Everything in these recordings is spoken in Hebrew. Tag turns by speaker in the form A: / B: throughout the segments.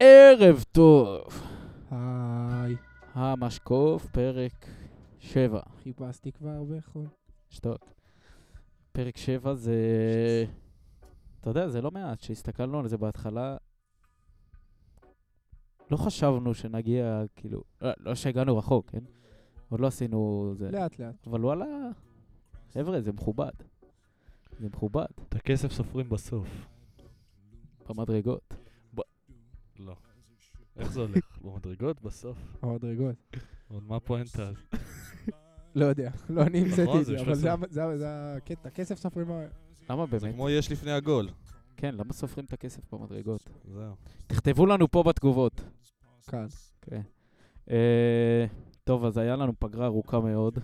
A: ערב טוב.
B: אה. היי,
A: המשקוף, פרק 7.
B: חיפשתי כבר בחול.
A: שתוק. פרק 7 זה... אתה יודע, זה לא מעט. כשהסתכלנו על זה בהתחלה, לא חשבנו שנגיע, כאילו... לא, לא שהגענו רחוק, כן? עוד לא עשינו זה.
B: לאט לאט.
A: אבל וואלה, חבר'ה, זה מכובד. זה מכובד,
C: את הכסף סופרים בסוף.
A: במדרגות.
C: לא. איך זה הולך? במדרגות? בסוף?
B: המדרגות.
C: עוד מה הפואנטה? אז?
B: לא יודע, לא אני המצאתי
C: נכון,
B: את זה,
C: זה
B: אבל זה
C: שלושה.
B: ה- זה ה- זה הקטע. כסף סופרים... ה-
A: למה
D: זה
A: באמת?
D: כמו יש לפני הגול.
A: כן, למה סופרים את הכסף במדרגות?
D: זהו.
A: תכתבו לנו פה בתגובות.
B: כאן.
A: כן. אה, טוב, אז היה לנו פגרה ארוכה מאוד,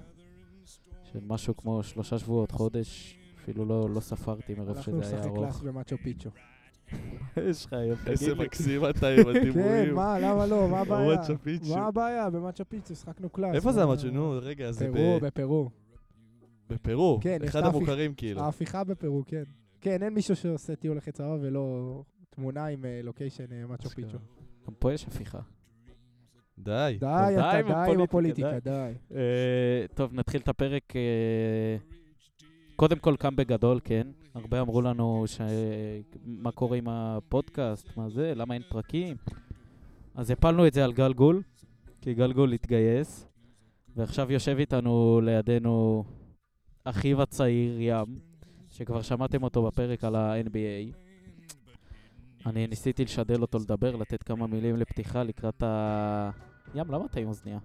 A: של משהו כמו שלושה שבועות, חודש, אפילו לא, לא ספרתי מרוב
B: הלכנו
A: שזה היה
B: לשחק
A: ארוך.
B: קלאס במאצ'ו פיצ'ו.
A: יש לך היום,
C: איזה
A: תגיד לי.
C: מקסים אתה עם
B: כן,
C: הדימויים.
B: מה, למה לא? מה הבעיה?
C: מצ'ו פיצ'ו.
B: מה הבעיה? במאצ'ו פיצ'ו שחקנו קלאס.
D: איפה זה
B: מה-
D: המצ'ו? נו, רגע, זה
B: פרו,
D: ב-
B: בפרו.
D: בפרו.
B: כן, יש
D: אחד
B: את האפיק-
D: המוכרים כאילו.
B: ההפיכה בפרו, כן. כן, אין מישהו שעושה טיול אחרי צבא ולא תמונה עם אה, לוקיישן אה, מאצ'ו פיצ'ו.
A: גם פה יש הפיכה.
D: די.
B: די,
A: די
B: אתה
A: עם
B: די עם
A: הפוליטיקה,
B: הפוליטיקה, די.
A: אה, טוב, נתחיל את הפרק. אה, קודם כל, קם בגדול, כן. הרבה אמרו לנו ש... מה קורה עם הפודקאסט, מה זה, למה אין פרקים. אז הפלנו את זה על גלגול, כי גלגול התגייס, ועכשיו יושב איתנו לידינו אחיו הצעיר, ים, שכבר שמעתם אותו בפרק על ה-NBA. אני ניסיתי לשדל אותו לדבר, לתת כמה מילים לפתיחה לקראת ה... ים, למה אתה עם אוזנייה?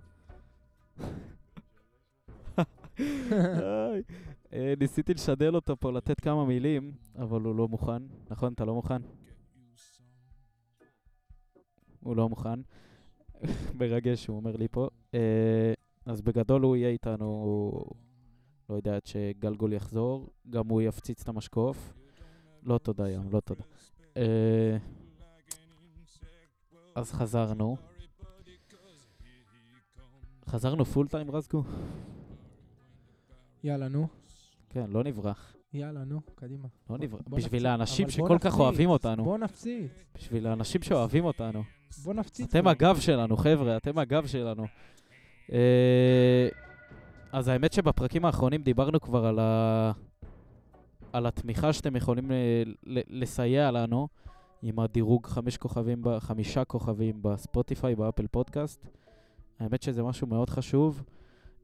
A: היי. אה, ניסיתי לשדל אותו פה, לתת כמה מילים, אבל הוא לא מוכן. נכון, אתה לא מוכן? הוא לא מוכן. מרגש, הוא אומר לי פה. אה, אז בגדול הוא יהיה איתנו, לא יודע, עד שגלגול יחזור. גם הוא יפציץ את המשקוף. לא תודה, ים, לא תודה. אה, אז חזרנו. חזרנו פול טיים, רזקו?
B: יאללה, נו.
A: כן, לא נברח.
B: יאללה, נו, קדימה.
A: לא נברח.
B: בוא
A: בשביל
B: נפציץ.
A: האנשים
B: אבל בוא
A: שכל כך
B: נפציץ.
A: אוהבים אותנו.
B: בוא נפציץ.
A: בשביל האנשים שאוהבים אותנו.
B: בוא נפציץ.
A: אתם
B: בו.
A: הגב שלנו, חבר'ה, אתם הגב שלנו. אה, אז האמת שבפרקים האחרונים דיברנו כבר על, ה... על התמיכה שאתם יכולים אה, ל- לסייע לנו עם הדירוג חמש כוכבים, ב... חמישה כוכבים בספוטיפיי, באפל פודקאסט. האמת שזה משהו מאוד חשוב.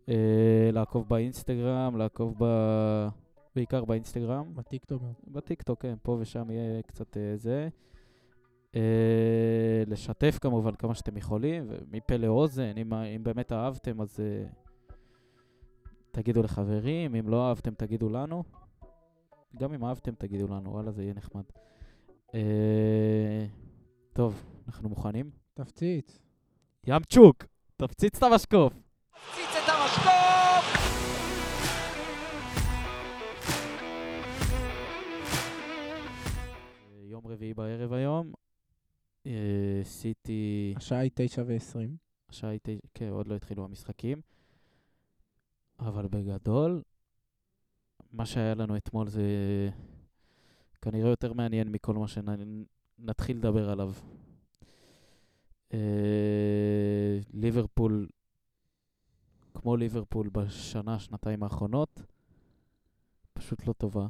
A: אה, לעקוב באינסטגרם, לעקוב ב... בעיקר באינסטגרם.
B: בטיקטוק. גם.
A: בטיקטוק, כן, פה ושם יהיה קצת אה, זה. אה, לשתף כמובן כמה שאתם יכולים, ומפה לאוזן, אם, ה- אם באמת אהבתם אז אה, תגידו לחברים, אם לא אהבתם תגידו לנו. גם אם אהבתם תגידו לנו, וואלה זה יהיה נחמד. אה, טוב, אנחנו מוכנים?
B: תפציץ.
A: ימצ'וק, תפציץ את המשקוף. אה, יום רביעי בערב היום, אה, סיטי...
B: השעה היא תשע ועשרים.
A: השעה היא תשע, כן, עוד לא התחילו המשחקים. אבל בגדול, מה שהיה לנו אתמול זה כנראה יותר מעניין מכל מה שנתחיל לדבר עליו. אה, ליברפול, כמו ליברפול בשנה, שנתיים האחרונות, פשוט לא טובה.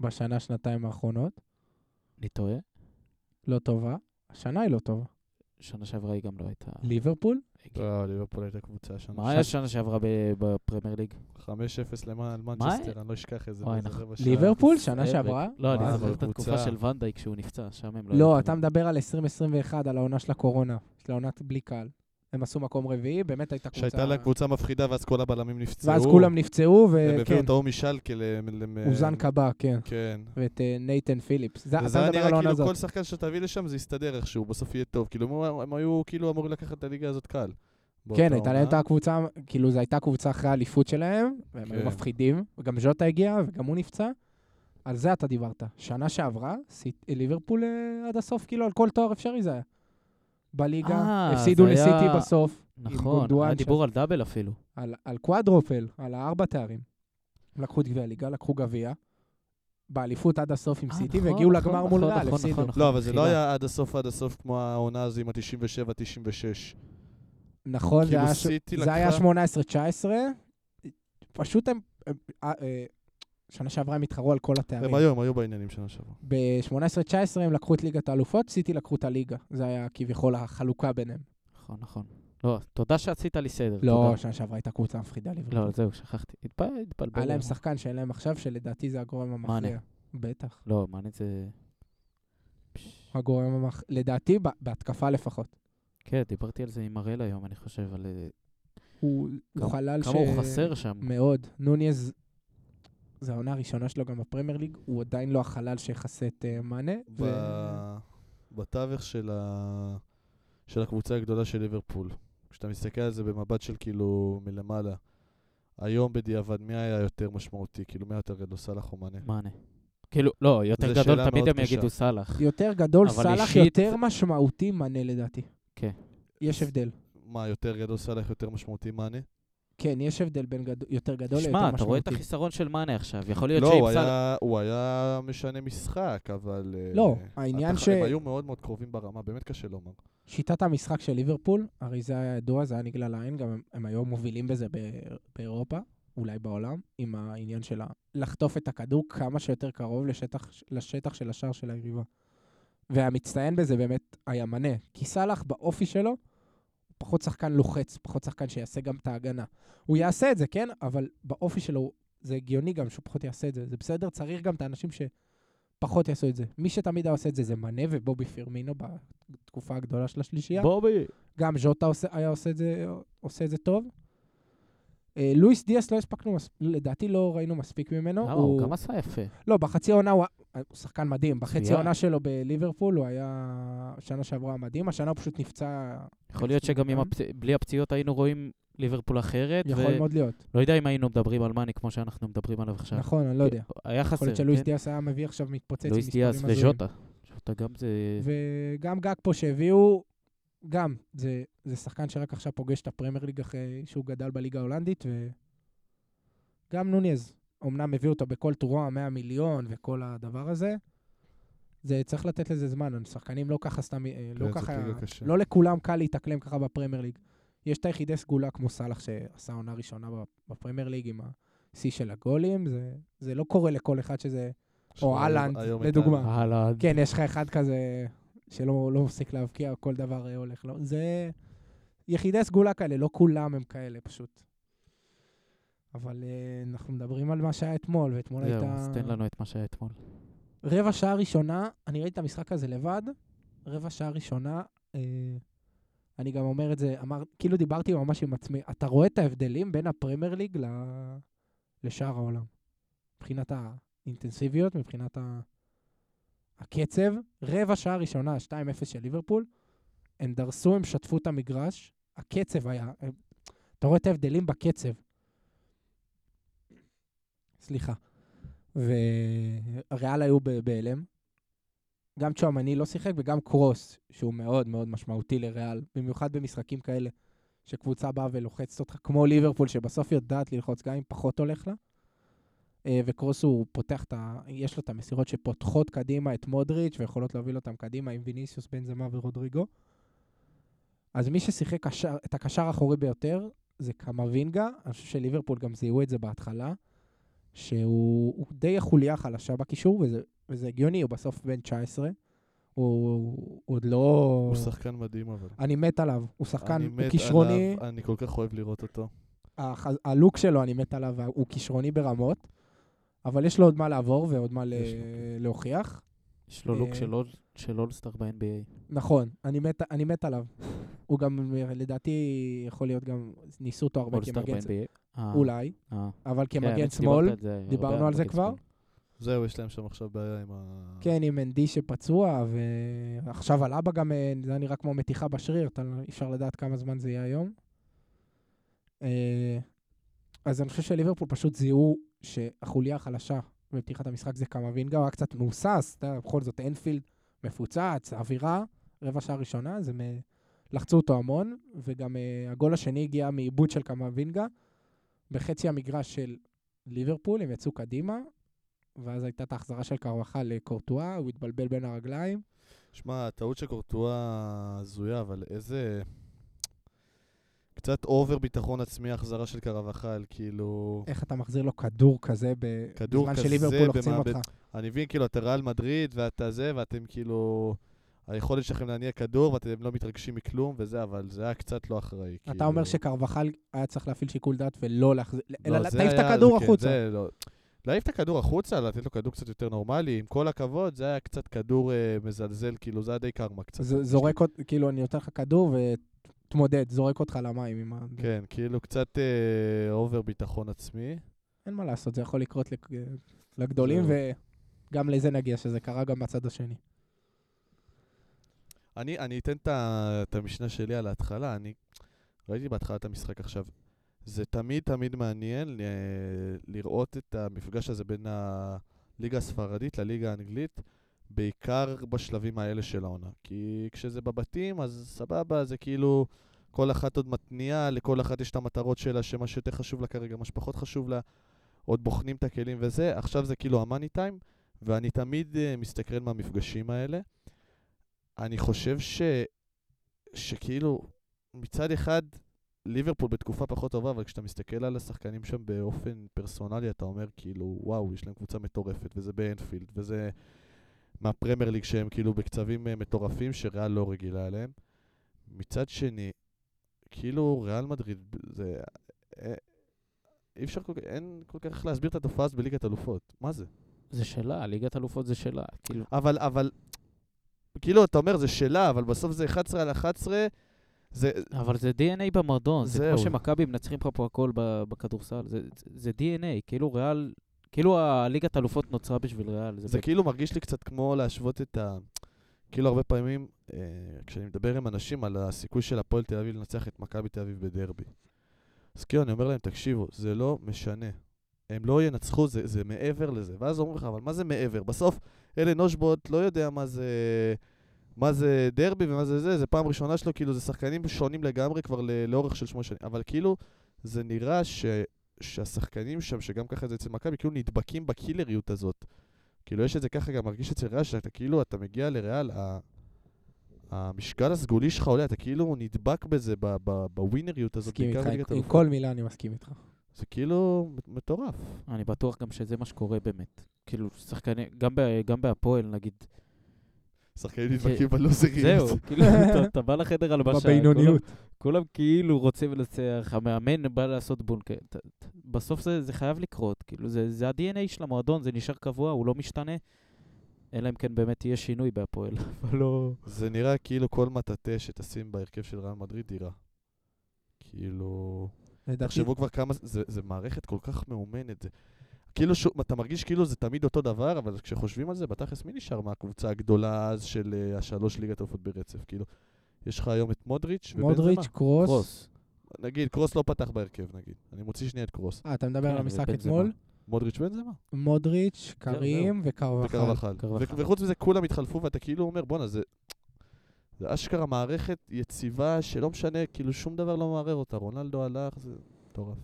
B: בשנה, שנתיים האחרונות.
A: אני טועה?
B: לא טובה. השנה היא לא טובה.
A: שנה שעברה היא גם לא הייתה...
B: ליברפול?
D: לא, ליברפול הייתה קבוצה שם.
A: מה היה שנה שעברה ב- בפרמייר ליג?
D: 5-0 למען מנצ'סטר, אני לא אשכח את זה.
A: אוי,
D: באיזה
A: נכון.
D: רבע שעה.
B: ליברפול?
A: אה,
B: שנה שעברה?
A: לא, אני
D: מה,
A: זוכר
D: זו
A: את התקופה
D: קבוצה.
A: של ונדאי כשהוא נפצע, שם הם לא... היו
B: לא,
A: טובים.
B: אתה מדבר על 2021, על העונה של הקורונה. של העונת בלי קהל. הם עשו מקום רביעי, באמת הייתה קבוצה...
D: שהייתה לה קבוצה מפחידה ואז כל הבלמים נפצעו.
B: ואז כולם נפצעו,
D: הם הביאו
B: וכן,
D: את ההוא משלקה. ל- ל-
B: אוזן קבע, כן.
D: כן.
B: ואת אה, נייתן פיליפס. זה- אתה
D: וזה היה
B: מדבר על
D: נראה
B: העונה
D: כאילו
B: הזאת.
D: כל שחקן שתביא לשם זה יסתדר איכשהו, בסוף יהיה טוב. כאילו הם- הם היו כאילו אמורים לקחת את הליגה הזאת קל. באותה
B: כן, הייתה להם את
D: עונה.
B: הקבוצה, כאילו זו הייתה קבוצה אחרי האליפות שלהם, והם היו
D: כן.
B: מפחידים, וגם ז'וטה הגיע, וגם הוא נפצע. על זה אתה דיברת. שנה שעברה, סיט- ליברפול אה, עד הסוף, כאילו על כל תואר אפשרי זה היה. בליגה,
A: אה,
B: הפסידו
A: זה היה-
B: לסיטי בסוף,
A: נכון,
B: גונדואן
A: היה
B: שם.
A: דיבור על דאבל אפילו.
B: על, על קוואדרופל, על הארבע תארים. הם לקחו את גביע הליגה, לקחו גביע, באליפות עד הסוף עם
A: אה,
B: סיטי,
A: נכון,
B: והגיעו
A: נכון,
B: לגמר מול
A: נכון,
B: ריאל,
A: נכון,
B: הפסידו.
A: נכון,
D: לא, אבל זה לא
A: חילה.
D: היה עד הסוף עד הסוף כמו העונה הזו עם ה-97-96.
B: נכון, זה
D: כאילו
B: היה ש-
D: סיטי
B: זה היה
D: לקחה-
B: 18-19. פשוט הם... הם- אה, אה, שנה שעברה הם התחרו על כל התארים.
D: הם היו, הם היו בעניינים שנה שעברה.
B: ב-18-19 הם לקחו את ליגת האלופות, סיטי לקחו את הליגה. זה היה כביכול החלוקה ביניהם.
A: נכון, נכון. לא, תודה שעשית לי סדר.
B: לא,
A: תודה.
B: שנה שעברה הייתה קבוצה מפחידה ליברפול.
A: לא, זהו, שכחתי. התבל- התבלבל.
B: היה להם
A: המוח.
B: שחקן שאין להם עכשיו, שלדעתי זה הגורם המכריע.
A: מאנה.
B: בטח.
A: לא, מעניין זה... פש,
B: הגורם המכריע. לדעתי, ב- בהתקפה לפחות.
A: כן, דיברתי על זה עם הראל היום, אני חושב, על אה,
B: הוא הוא
A: כמה-
B: חלל ש...
A: כמה הוא חסר שם.
B: מאוד. נוניז, זו העונה הראשונה שלו גם בפרמייר ליג, הוא עדיין לא החלל שיכסה את אה, מאנה. ו-
D: ב-
B: כן.
D: בתווך של ה- של הקבוצה הגדולה של ליברפול. כשאתה מסתכל על זה במבט של כאילו מלמעלה, היום בדיעבד, מי היה יותר משמעותי? כאילו, מי היה יותר גדול, סאלח או מאנה?
A: מאנה. כאילו, לא, יותר
D: זו
A: גדול
D: שאלה
A: תמיד
D: מאוד
A: הם
D: קשה.
A: יגידו סאלח.
B: יותר גדול,
A: אבל
B: סאלח
A: אישית-
B: יותר משמעותי מאנה לדעתי.
A: כן.
B: יש הבדל.
D: מה, יותר גדול סאלח, יותר משמעותי מאנה?
B: כן, יש הבדל בין גדול- יותר גדול ליותר משמעותי.
A: שמע, אתה רואה את החיסרון של מאנה עכשיו, יכול להיות
D: לא,
A: שאם
D: הוא
A: כן, סאלח...
D: היה- הוא היה משנה משחק, אבל... אה,
B: לא, העניין
D: התח-
B: ש-
D: הם היו מאוד מאוד קרובים ברמה, באמת קשה לומר.
B: שיטת המשחק של ליברפול, הרי זה היה ידוע, זה היה נגלה לעין, גם הם, הם היו מובילים בזה ב- באירופה, אולי בעולם, עם העניין של ה- לחטוף את הכדור כמה שיותר קרוב לשטח, לשטח של השער של היריבה. והמצטיין בזה באמת היה מנה, כי סאלח באופי שלו, הוא פחות שחקן לוחץ, פחות שחקן שיעשה גם את ההגנה. הוא יעשה את זה, כן? אבל באופי שלו זה הגיוני גם שהוא פחות יעשה את זה. זה בסדר, צריך גם את האנשים שפחות יעשו את זה. מי שתמיד היה עושה את זה זה מנה ובובי פירמינו בתקופה הגדולה של השלישייה.
A: בובי.
B: גם ז'וטה עושה, היה עושה את זה, עושה את זה טוב. אה, לואיס דיאס לא הספקנו, מס- לדעתי לא ראינו מספיק ממנו.
A: למה? הוא גם עשה יפה.
B: לא, בחצי העונה הוא... אה, הוא שחקן מדהים. בחצי
A: מצוין.
B: העונה שלו בליברפול הוא היה שנה שעברה מדהים, השנה הוא פשוט נפצע,
A: יכול להיות שגם עם
B: גם.
A: הפצ- בלי הפציעות היינו רואים ליברפול אחרת,
B: יכול מאוד להיות.
A: ולא יודע אם היינו מדברים על מאני כמו שאנחנו מדברים עליו עכשיו.
B: נכון, אני לא יודע.
A: היה חסר,
B: יכול להיות
A: כן.
B: שלואיס דיאס היה מביא עכשיו מתפוצץ עם
A: לואיס
B: מספרים
A: דיאס
B: הזויים.
A: וז'וטה. ז'וטה גם זה...
B: וגם גג פה שהביאו, גם, זה, זה שחקן שרק עכשיו פוגש את הפרמייר ליג אחרי שהוא גדל בליגה ההולנדית, וגם נוניז, אמנם הביאו אותו בכל טורו, 100 מיליון וכל הדבר הזה. זה צריך לתת לזה זמן, שחקנים לא ככה סתם, אה, לא
D: כן, זאת
B: ככה,
D: ליגה קשה.
B: לא לכולם קל להתאקלם ככה בפרמייר ליג. יש את היחידי סגולה כמו סאלח שעשה עונה ראשונה בפרמייר ליג עם השיא של הגולים, זה, זה לא קורה לכל אחד שזה...
D: שמע, היום-
B: אהלנד,
D: היום
B: לדוגמה.
D: הייתה-
A: אהלן.
B: כן, יש לך אחד כזה שלא לא מפסיק להבקיע, כל דבר אה, הולך לו. זה יחידי סגולה כאלה, לא כולם הם כאלה פשוט. אבל אה, אנחנו מדברים על מה שהיה אתמול, ואתמול
A: זהו,
B: הייתה...
A: אז תן לנו את מה שהיה אתמול.
B: רבע שעה ראשונה, אני ראיתי את המשחק הזה לבד, רבע שעה ראשונה, אה, אני גם אומר את זה, אמר, כאילו דיברתי ממש עם עצמי, אתה רואה את ההבדלים בין הפרמייר ליג ל... לשאר העולם. מבחינת האינטנסיביות, מבחינת ה... הקצב, רבע שעה ראשונה, 2-0 של ליברפול, הם דרסו, הם שטפו את המגרש, הקצב היה, הם... אתה רואה את ההבדלים בקצב. סליחה. וריאל היו ב- בהלם. גם צ'ואמני לא שיחק וגם קרוס, שהוא מאוד מאוד משמעותי לריאל, במיוחד במשחקים כאלה, שקבוצה באה ולוחצת אותך, כמו ליברפול, שבסוף יודעת ללחוץ גם אם פחות הולך לה. אה, וקרוס הוא פותח את ה... יש לו את המסירות שפותחות קדימה את מודריץ' ויכולות להוביל אותם קדימה עם ויניסיוס, בן זמה ורודריגו. אז מי ששיחק קשר, את הקשר האחורי ביותר זה קמבינגה, אני חושב שליברפול גם זיהו את זה בהתחלה. שהוא הוא די החוליה החלשה בקישור, וזה, וזה הגיוני, הוא בסוף בן 19. הוא, הוא עוד לא...
D: הוא שחקן מדהים, אבל.
B: אני מת עליו, הוא שחקן,
D: אני
B: הוא
D: מת
B: כישרוני,
D: עליו, אני כל כך אוהב לראות אותו.
B: הח- הלוק שלו, אני מת עליו, הוא כישרוני ברמות, אבל יש לו עוד מה לעבור ועוד מה ל-
D: יש לו, כן.
B: להוכיח.
A: יש לו לוק
B: אה,
A: של אול- של אולסטאר ב-NBA.
B: נכון, אני מת, אני מת עליו. הוא גם, לדעתי, יכול להיות גם, ניסו אותו הרבה
A: אולסטאר
B: כמגן,
A: ב-NBA. אה,
B: אולי,
A: אה.
B: אבל
A: כן,
B: כמגן
A: האמת
B: שמאל,
A: שדיברת זה הרבה
B: דיברנו על זה
A: מגן
B: כבר?
A: שמאל.
D: זהו, יש להם שם עכשיו בעיה עם ה...
B: כן, עם אנדי שפצוע, ועכשיו על אבא גם, אה, זה היה נראה כמו מתיחה בשריר, אתה לא- אי אפשר לדעת כמה זמן זה יהיה היום. אה, אז אני חושב שליברפול פשוט זיהו שהחוליה החלשה בפתיחת המשחק זה קמבינגה, הוא היה קצת מהוסס, אתה יודע, בכל זאת אנפילד מפוצץ, אווירה, רבע שעה ראשונה, זה מ- לחצו אותו המון, וגם אה, הגול השני הגיע מעיבוד של קמבינגה, בחצי המגרש של ליברפול, הם יצאו קדימה, ואז הייתה את ההחזרה של קרווחה לקורטואה, הוא התבלבל בין הרגליים.
D: שמע, הטעות של קורטואה הזויה, אבל איזה... קצת אובר ביטחון עצמי החזרה של קרבחל, כאילו...
B: איך אתה מחזיר לו כדור כזה ב-
D: כדור
B: בזמן
D: כזה
B: שליברפול לוחצים
D: במעבד-
B: אותך?
D: אני מבין, כאילו, אתה ריאל מדריד ואתה זה, ואתם כאילו... היכולת שלכם להניע כדור ואתם לא מתרגשים מכלום וזה, אבל זה היה קצת לא אחראי.
B: אתה
D: כאילו.
B: אומר שקרבחל היה צריך להפעיל שיקול דעת ולא להחזיר, אלא
D: לא, זה
B: להעיף את
D: היה-
B: הכדור
D: כן,
B: החוצה.
D: זה לא- להעיף את הכדור החוצה, לתת לו כדור קצת יותר נורמלי, עם כל הכבוד, זה היה קצת כדור אה, מזלזל, כאילו, זה היה די קרמה קצת.
B: ז- זורק אותך, כאילו, אני נותן לך כדור ותתמודד, זורק אותך למים עם ה...
D: כן, כאילו קצת אה, אובר ביטחון עצמי.
B: אין מה לעשות, זה יכול לקרות לק- לגדולים,
D: זהו.
B: וגם לזה נגיע, שזה קרה גם בצד השני.
D: אני, אני אתן את ה- את המשנה שלי על ההתחלה, אני ראיתי בהתחלה את המשחק עכשיו. זה תמיד תמיד מעניין אה, לראות את המפגש הזה בין הליגה הספרדית לליגה האנגלית, בעיקר בשלבים האלה של העונה. כי כשזה בבתים, אז סבבה, זה כאילו כל אחת עוד מתניעה, לכל אחת יש את המטרות שלה, שמה שיותר חשוב לה כרגע, מה שפחות חשוב לה, עוד בוחנים את הכלים וזה, עכשיו זה כאילו המאני טיים, ואני תמיד אה, מסתקרן מהמפגשים האלה. אני חושב ש... שכאילו, מצד אחד, ליברפול בתקופה פחות טובה, אבל כשאתה מסתכל על השחקנים שם באופן פרסונלי, אתה אומר כאילו, וואו, יש להם קבוצה מטורפת, וזה באנפילד, וזה מהפרמייר ליג שהם כאילו בקצבים אה, מטורפים, שריאל לא רגילה אליהם. מצד שני, כאילו, ריאל מדריד, זה... אה, אי אפשר כל כך, אין כל כך להסביר את התופעה הזאת בליגת אלופות. מה זה?
A: זה שלה, ליגת אלופות זה שלה. כאילו,
D: אבל, אבל, כאילו, אתה אומר, זה שלה, אבל בסוף זה 11 על 11, זה,
A: אבל זה DNA במועדון, זה כמו
D: זהו.
A: שמכבי מנצחים לך פה הכל ב- בכדורסל, זה- זה- זה DNA, כאילו ריאל, כאילו הליגת אלופות נוצרה בשביל ריאל.
D: זה
A: ב-
D: כאילו מרגיש לי קצת כמו להשוות את ה... כאילו, הרבה פעמים, אה, כשאני מדבר עם אנשים על הסיכוי של הפועל תל אביב לנצח את מכבי תל אביב בדרבי. אז כאילו, אני אומר להם, תקשיבו, זה לא משנה. הם לא ינצחו, זה, זה מעבר לזה. ואז אומרים לך, אבל מה זה מעבר? בסוף, אלן אושבוט לא יודע מה זה... מה זה דרבי ומה זה זה, זה פעם ראשונה שלו, כאילו זה שחקנים שונים לגמרי כבר ל- לאורך של שמונה שנים. אבל כאילו, זה נראה ש, שהשחקנים שם, שגם ככה זה אצל מכבי, כאילו נדבקים בקילריות הזאת. כאילו יש את זה ככה, גם מרגיש אצל ריאל, שאתה כאילו, אתה מגיע לריאל, ה- המשקל הסגולי שלך עולה, אתה כאילו נדבק בזה, ב- ב- בווינריות הזאת,
B: מסכים איתך,
D: בליגת
B: עם- עם
D: האלופות.
B: כל מילה אני מסכים איתך.
D: זה כאילו מטורף.
A: אני בטוח גם שזה מה שקורה באמת. כאילו, שחקנים, גם ב- גם בהפועל, נגיד,
D: שחקנים
A: נדבקים
D: נדבקים בלוזריות.
A: זהו, כאילו, אתה- אתה בא לחדר הלבשה, כולם-
B: בבינוניות.
A: כולם כאילו רוצים לנצח, המאמן בא לעשות בונקר. ת- ת- בסוף זה זה חייב לקרות, כאילו, זה זה ה-DNA של המועדון, זה נשאר קבוע, הוא לא משתנה. אלא אם כן באמת יהיה שינוי בהפועל, אבל לא...
D: זה נראה כאילו כל מטאטה שתשים בהרכב של ריאל מדריד דירה. כאילו...
B: לדעתי,
D: תחשבו כבר כמה... זה, זה מערכת כל כך מאומנת. זה, כאילו, ש... אתה מרגיש כאילו זה תמיד אותו דבר, אבל כשחושבים על זה, בתכלס מי נשאר מהקבוצה הגדולה אז של אה, השלוש ליגת אלופות ברצף? כאילו, יש לך היום את מודריץ' ובן
B: מודריץ', קרוס.
A: קרוס.
D: נגיד, קרוס לא פתח בהרכב, נגיד. אני מוציא שנייה את קרוס.
B: אה, אתה מדבר
A: כן,
B: על המשחק
A: ובן זמה.
B: אתמול?
D: מודריץ' בן זמה.
B: מודריץ', קרים וקרבחל.
D: וקרבחל.
A: קרבחל.
D: ו- וחוץ מזה כולם התחלפו ואתה כאילו אומר, בואנה, זה... זה אשכרה מערכת יציבה שלא משנה, כאילו שום דבר לא מערער אותה. רונלדו הלך, זה מטורף.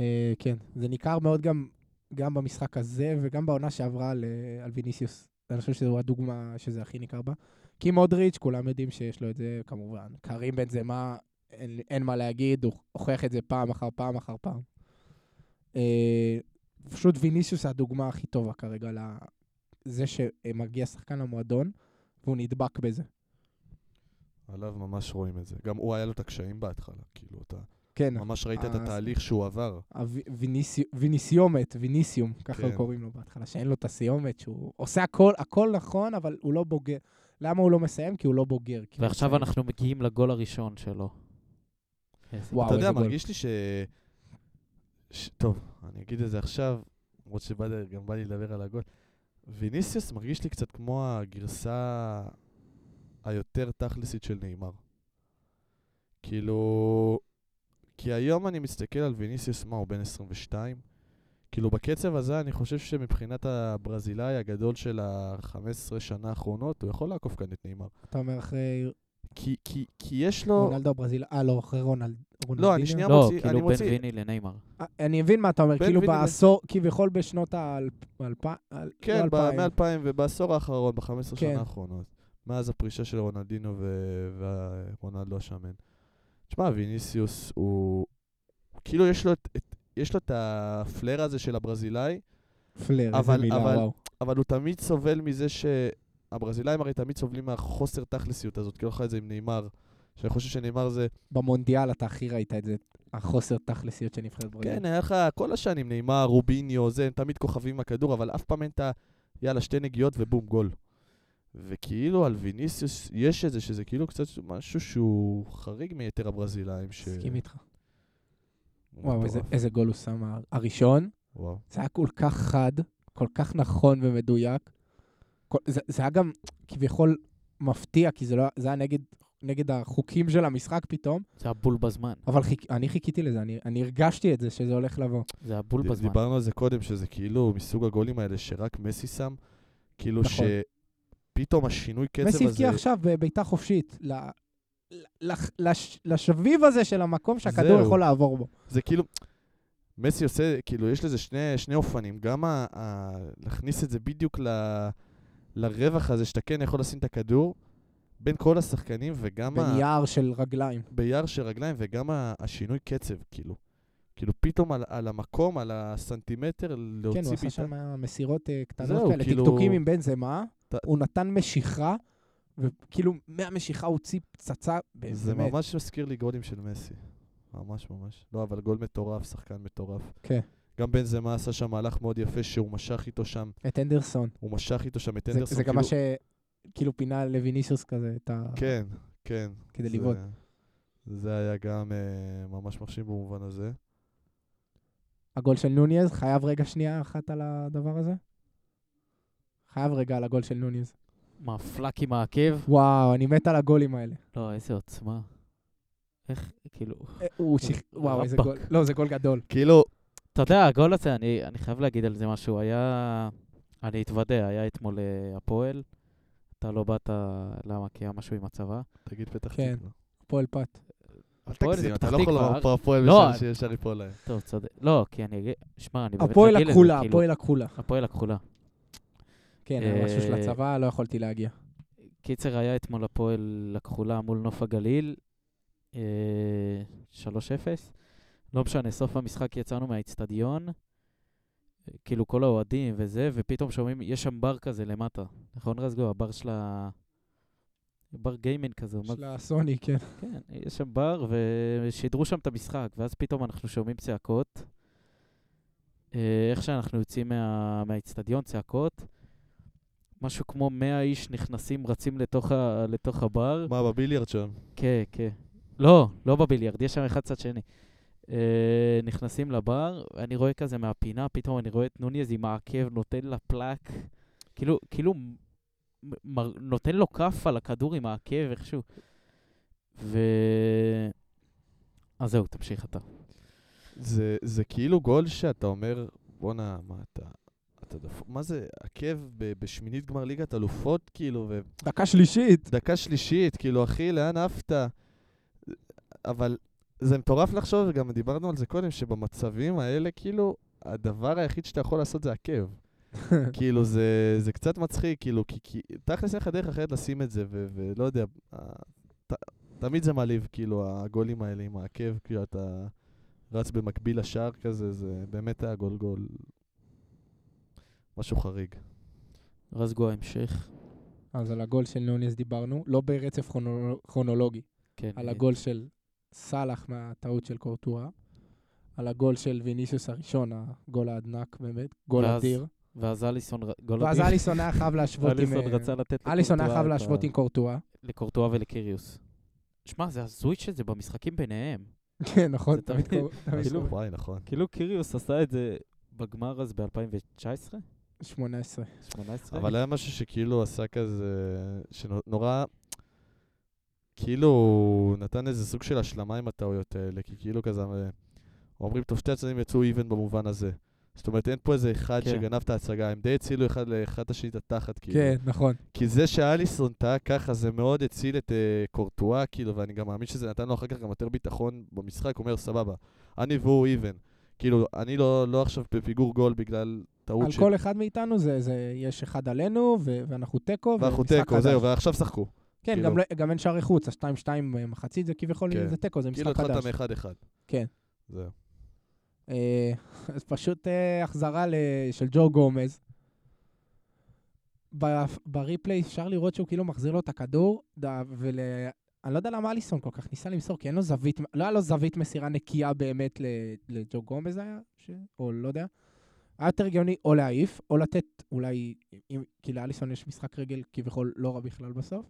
B: אה, כן, זה ניכר מאוד גם, גם במשחק הזה וגם בעונה שעברה על, אה, על ויניסיוס. אני חושב שזו הדוגמה שזה הכי ניכר בה. כי מודריץ', כולם יודעים שיש לו את זה, כמובן. קרים בן זמה, אין, אין מה להגיד, הוא הוכיח את זה פעם אחר פעם אחר פעם. אה, פשוט ויניסיוס הדוגמה הכי טובה כרגע לזה שמגיע שחקן למועדון, והוא נדבק בזה.
D: עליו ממש רואים את זה. גם הוא היה לו את הקשיים בהתחלה, כאילו, אתה
B: כן,
D: ממש ראית את
B: אז-
D: התהליך שהוא עבר.
B: הוו- ויניסי- ויניסיומת, ויניסיום, ככה
D: כן.
B: קוראים לו בהתחלה, שאין לו את הסיומת, שהוא עושה הכל, הכל נכון, אבל הוא לא בוגר. למה הוא לא מסיים? כי הוא לא בוגר. כי הוא
A: ועכשיו
B: צעיר.
A: אנחנו מגיעים לגול הראשון שלו. איזה
B: וואו,
D: אתה יודע,
B: איזה גול.
D: מרגיש לי ש... ש... טוב, אני אגיד את זה עכשיו, למרות שגם בא לי לדבר על הגול. ויניסיוס מרגיש לי קצת כמו הגרסה היותר תכלסית של נאמר. כאילו... כי היום אני מסתכל על ויניסיוס, מה, הוא בן 22? כאילו, בקצב הזה אני חושב שמבחינת הברזילאי הגדול של ה-15 שנה האחרונות, הוא יכול לעקוף כאן את נאמר.
B: אתה אומר אחרי
D: כי, כי, כי יש לו...
B: רונלדו ברזיל, אה, לא, אחרי רונלד- רונלדיניו.
D: לא, אני שנייה
A: לא,
D: מוציא... אני
A: כאילו
D: מוציא...
A: בין ויני לניימר.
B: אה, אני מבין מה אתה אומר,
D: בן
B: כאילו
D: וידל.
B: בעשור, כביכול בשנות אה, האלפיים, לא,
D: כן, ב- מ-2000 ובעשור האחרון, ב-15
B: כן.
D: שנה האחרונות. מאז הפרישה של רונלדינו ו- ורונלדו השמן. תשמע, ויניסיוס הוא... כאילו יש לו את... את- יש לו את הפלר הזה של הברזילאי,
B: פלר, איזה
D: אבל-
B: מילה,
D: אבל-
B: וואו.
D: אבל הוא תמיד סובל מזה שהברזילאים הרי תמיד סובלים מהחוסר תכלסיות הזאת, כאילו לך את זה עם נאמר, שאני חושב שנאמר זה...
B: במונדיאל אתה הכי ראית את זה, החוסר תכלסיות של נבחרת ברזיל.
D: כן, היה לך כל השנים נאמר, רוביניו, זה, הם תמיד כוכבים עם הכדור, אבל אף פעם אין את ה... יאללה, שתי נגיעות ובום, גול. וכאילו על ויניסיוס יש איזה, שזה כאילו קצת משהו שהוא חריג מיתר הברזילאים. ש...
B: מסכים איתך.
D: הוא
B: וואו, איזה-
D: מטורף.
B: איזה גול הוא שם, ה- הראשון,
D: וואו.
B: זה היה כל כך חד, כל כך נכון ומדויק. כל- זה זה היה גם כביכול מפתיע, כי זה לא- זה היה נגד- נגד החוקים של המשחק פתאום,
A: זה הבול בזמן.
B: אבל חיכ- אני חיכיתי לזה, אני- אני הרגשתי את זה, שזה הולך לבוא.
A: זה הבול
D: ד-
A: בזמן.
D: דיברנו על זה קודם, שזה כאילו מסוג הגולים האלה שרק מסי שם, כאילו
B: נכון.
D: שפתאום השינוי קצב הזה...
B: מסי הבקיע עכשיו בביתה חופשית, ל... ל- ל- לש- לשביב הזה של המקום שהכדור
D: זהו.
B: יכול לעבור בו.
D: זה כאילו, מסי עושה, כאילו, יש לזה שני, שני אופנים. גם ה, ה, להכניס את זה בדיוק ל, לרווח הזה, שאתה כן יכול לשים את הכדור, בין כל השחקנים, וגם ה,
B: בנייר של רגליים.
D: ביער של רגליים, וגם ה, השינוי קצב, כאילו. כאילו, פתאום על, על המקום, על הסנטימטר,
B: כן,
D: להוציא
B: הוא עשה
D: בעיטה.
B: שם מסירות אה,
D: זהו,
B: קטנות כאלה,
D: כאילו-
B: טקטוקים עם בן זמה,
D: ת-
B: הוא נתן משיכה, וכאילו מהמשיכה הוא הוציא פצצה, ב-
D: זה
B: אה, באמת.
D: ממש מזכיר לי גולים של מסי. ממש ממש. לא, אבל גול מטורף, שחקן מטורף.
B: כן.
D: גם בן זמה עשה שם מהלך מאוד יפה, שהוא משך איתו שם,
B: את אנדרסון.
D: הוא משך איתו שם את
B: זה-
D: אנדרסון.
B: זה גם
D: כאילו-
B: מה ש... כאילו פינה לויניסיוס כזה, את ה...
D: כן, כן.
B: כדי
D: זה-
B: לבעוט.
D: זה היה גם אה, ממש מרשים במובן הזה.
B: הגול של נוניז, חייב רגע שנייה אחת על הדבר הזה? חייב רגע על הגול של נוניז.
A: מה, פלאק עם העקב?
B: וואו, אני מת על הגולים האלה.
A: לא, איזה עוצמה. איך, כאילו...
B: אה, הוא שיח... וואו, איזה
A: רבאק.
B: גול. לא, זה גול גדול.
D: כאילו,
A: אתה יודע, הגול הזה, אני, אני חייב להגיד על זה משהו. היה... אני אתוודה, היה אתמול אה, הפועל. אתה לא באת, למה? כי היה משהו עם הצבא.
D: תגיד פתח
B: כן.
D: תקווה.
B: פועל פת.
D: אל
A: הפועל
D: תגזים,
A: זה
D: אתה
A: פתח
D: לא יכול
A: תקווה.
D: לומר פה הפועל
A: לא,
D: בשביל
A: אני-
D: שישר ליפול להם.
A: טוב, צודק. לא, כי אני אגיד... שמע, אני באמת
B: הפועל
A: רגיל לזה,
B: הכחולה,
A: כאילו.
B: הפועל הכחולה.
A: הפועל הכחולה.
B: כן, היה
A: אה,
B: משהו של הצבא, לא יכולתי להגיע.
A: קיצר, היה אתמול הפועל הכחולה מול נוף הגליל, אה, 3-0. לא משנה, סוף המשחק יצאנו מהאיצטדיון, אה, כאילו כל האוהדים וזה, ופתאום שומעים, יש שם בר כזה למטה. נכון, רזגו? הבר של ה... בר גיימן כזה. הוא מה-
B: של הסוני, כן.
A: כן, יש שם בר, ושידרו שם את המשחק, ואז פתאום אנחנו שומעים צעקות. אה, איך שאנחנו יוצאים מה- מהאיצטדיון, צעקות. משהו כמו 100 איש נכנסים, רצים לתוך, ה... לתוך הבר.
D: מה, בביליארד שם?
A: כן, כן. לא, לא בביליארד, יש שם אחד צד שני. אה, נכנסים לבר, אני רואה כזה מהפינה, פתאום אני רואה את נוניז עם העקב, נותן לה פלאק. כאילו, כאילו, מ- מר, נותן לו כף על הכדור עם העקב איכשהו. ו... אז זהו, תמשיך אתה.
D: זה, זה כאילו גול שאתה אומר, בואנה, מה אתה... אתה דפוק, מה זה, עקב ב- בשמינית גמר ליגת אלופות, כאילו, ו...
B: דקה שלישית.
D: דקה שלישית, כאילו, אחי, לאן עפת? אבל זה מטורף לחשוב, וגם דיברנו על זה קודם, שבמצבים האלה, כאילו, הדבר היחיד שאתה יכול לעשות זה עקב. כאילו, זה, זה קצת מצחיק, כאילו, כי, כי תכלס אין לך דרך אחרת לשים את זה, ו, ולא יודע, ה- ת, תמיד זה מעליב, כאילו, הגולים האלה עם העקב, כאילו, אתה רץ במקביל לשער כזה, זה באמת היה גול גול. משהו חריג.
A: רזגו ההמשך.
B: אז על הגול של נוניס דיברנו, לא ברצף כרונו- כרונולוגי.
A: כן.
B: על
A: אה,
B: הגול של סאלח מהטעות של קורטואה. על הגול של ויניסיוס הראשון, הגול העדנק באמת, גול
A: ואז-
B: אדיר.
A: ואז אליסון... ר- גול
B: ואז
A: אדיר.
B: אליסון היה חייב להשוות עם...
A: אליסון
B: אה,
A: רצה לתת לקורטואה
B: אליסון היה
A: את
B: חייב
A: ה-
B: להשוות עם קורטואה.
A: לקורטואה ולקיריוס. שמע, זה הזוי שזה במשחקים ביניהם.
B: כן, נכון,
A: זה
B: תמיד
A: תמיד-
B: קור- תמיד
A: כאילו-
B: קור-
D: וואי, נכון.
A: כאילו קיריוס עשה את זה בגמר אז ב-2019?
B: 18.
A: 18?
D: אבל היה משהו שכאילו עשה כזה, שנורא, כאילו נתן איזה סוג של השלמה עם הטעויות האלה, כי כאילו כזה, אה, אומרים טוב שתי הצדדים יצאו איבן במובן הזה. זאת אומרת, אין פה איזה אחד
A: כן.
D: שגנב את ההצגה, הם די הצילו אחד לאחד את השני את התחת, כאילו.
B: כן, נכון.
D: כי זה שאליסון טעה ככה, זה מאוד הציל את uh, קורטואה, כאילו, ואני גם מאמין שזה נתן לו אחר כך גם יותר ביטחון במשחק, הוא אומר, סבבה, אני והוא איבן. כאילו, אני לא, לא עכשיו בפיגור גול בגלל טעות
B: על
D: שלי.
B: כל אחד מאיתנו זה, זה, יש אחד עלינו, ו- ואנחנו תיקו,
D: ואנחנו
B: ומשחק
D: תיקו,
B: חדש.
D: זהו, ועכשיו שחקו.
B: כן,
D: כאילו.
B: גם, לא, גם אין שערי חוץ, ה-2-2 אה, מחצית זה כביכול,
D: כן.
B: זה תיקו, זה
D: כאילו,
B: משחק
D: התחלת
B: חדש.
D: מאחד-אחד.
B: כן.
D: זהו.
B: אה, אז פשוט אה, החזרה ל- של ג'ו גומז. ב- בריפליי אפשר לראות שהוא כאילו מחזיר לו את הכדור, ד- ול... אני לא יודע למה אליסון כל כך ניסה למסור, כי אין לו זווית, לא היה לו זווית מסירה נקייה באמת ל- לג'ו גומז היה, ש... או לא יודע. היה יותר הגיוני או להעיף, או לתת, אולי, אם, כי לאליסון יש משחק רגל כביכול לא רע בכלל בסוף,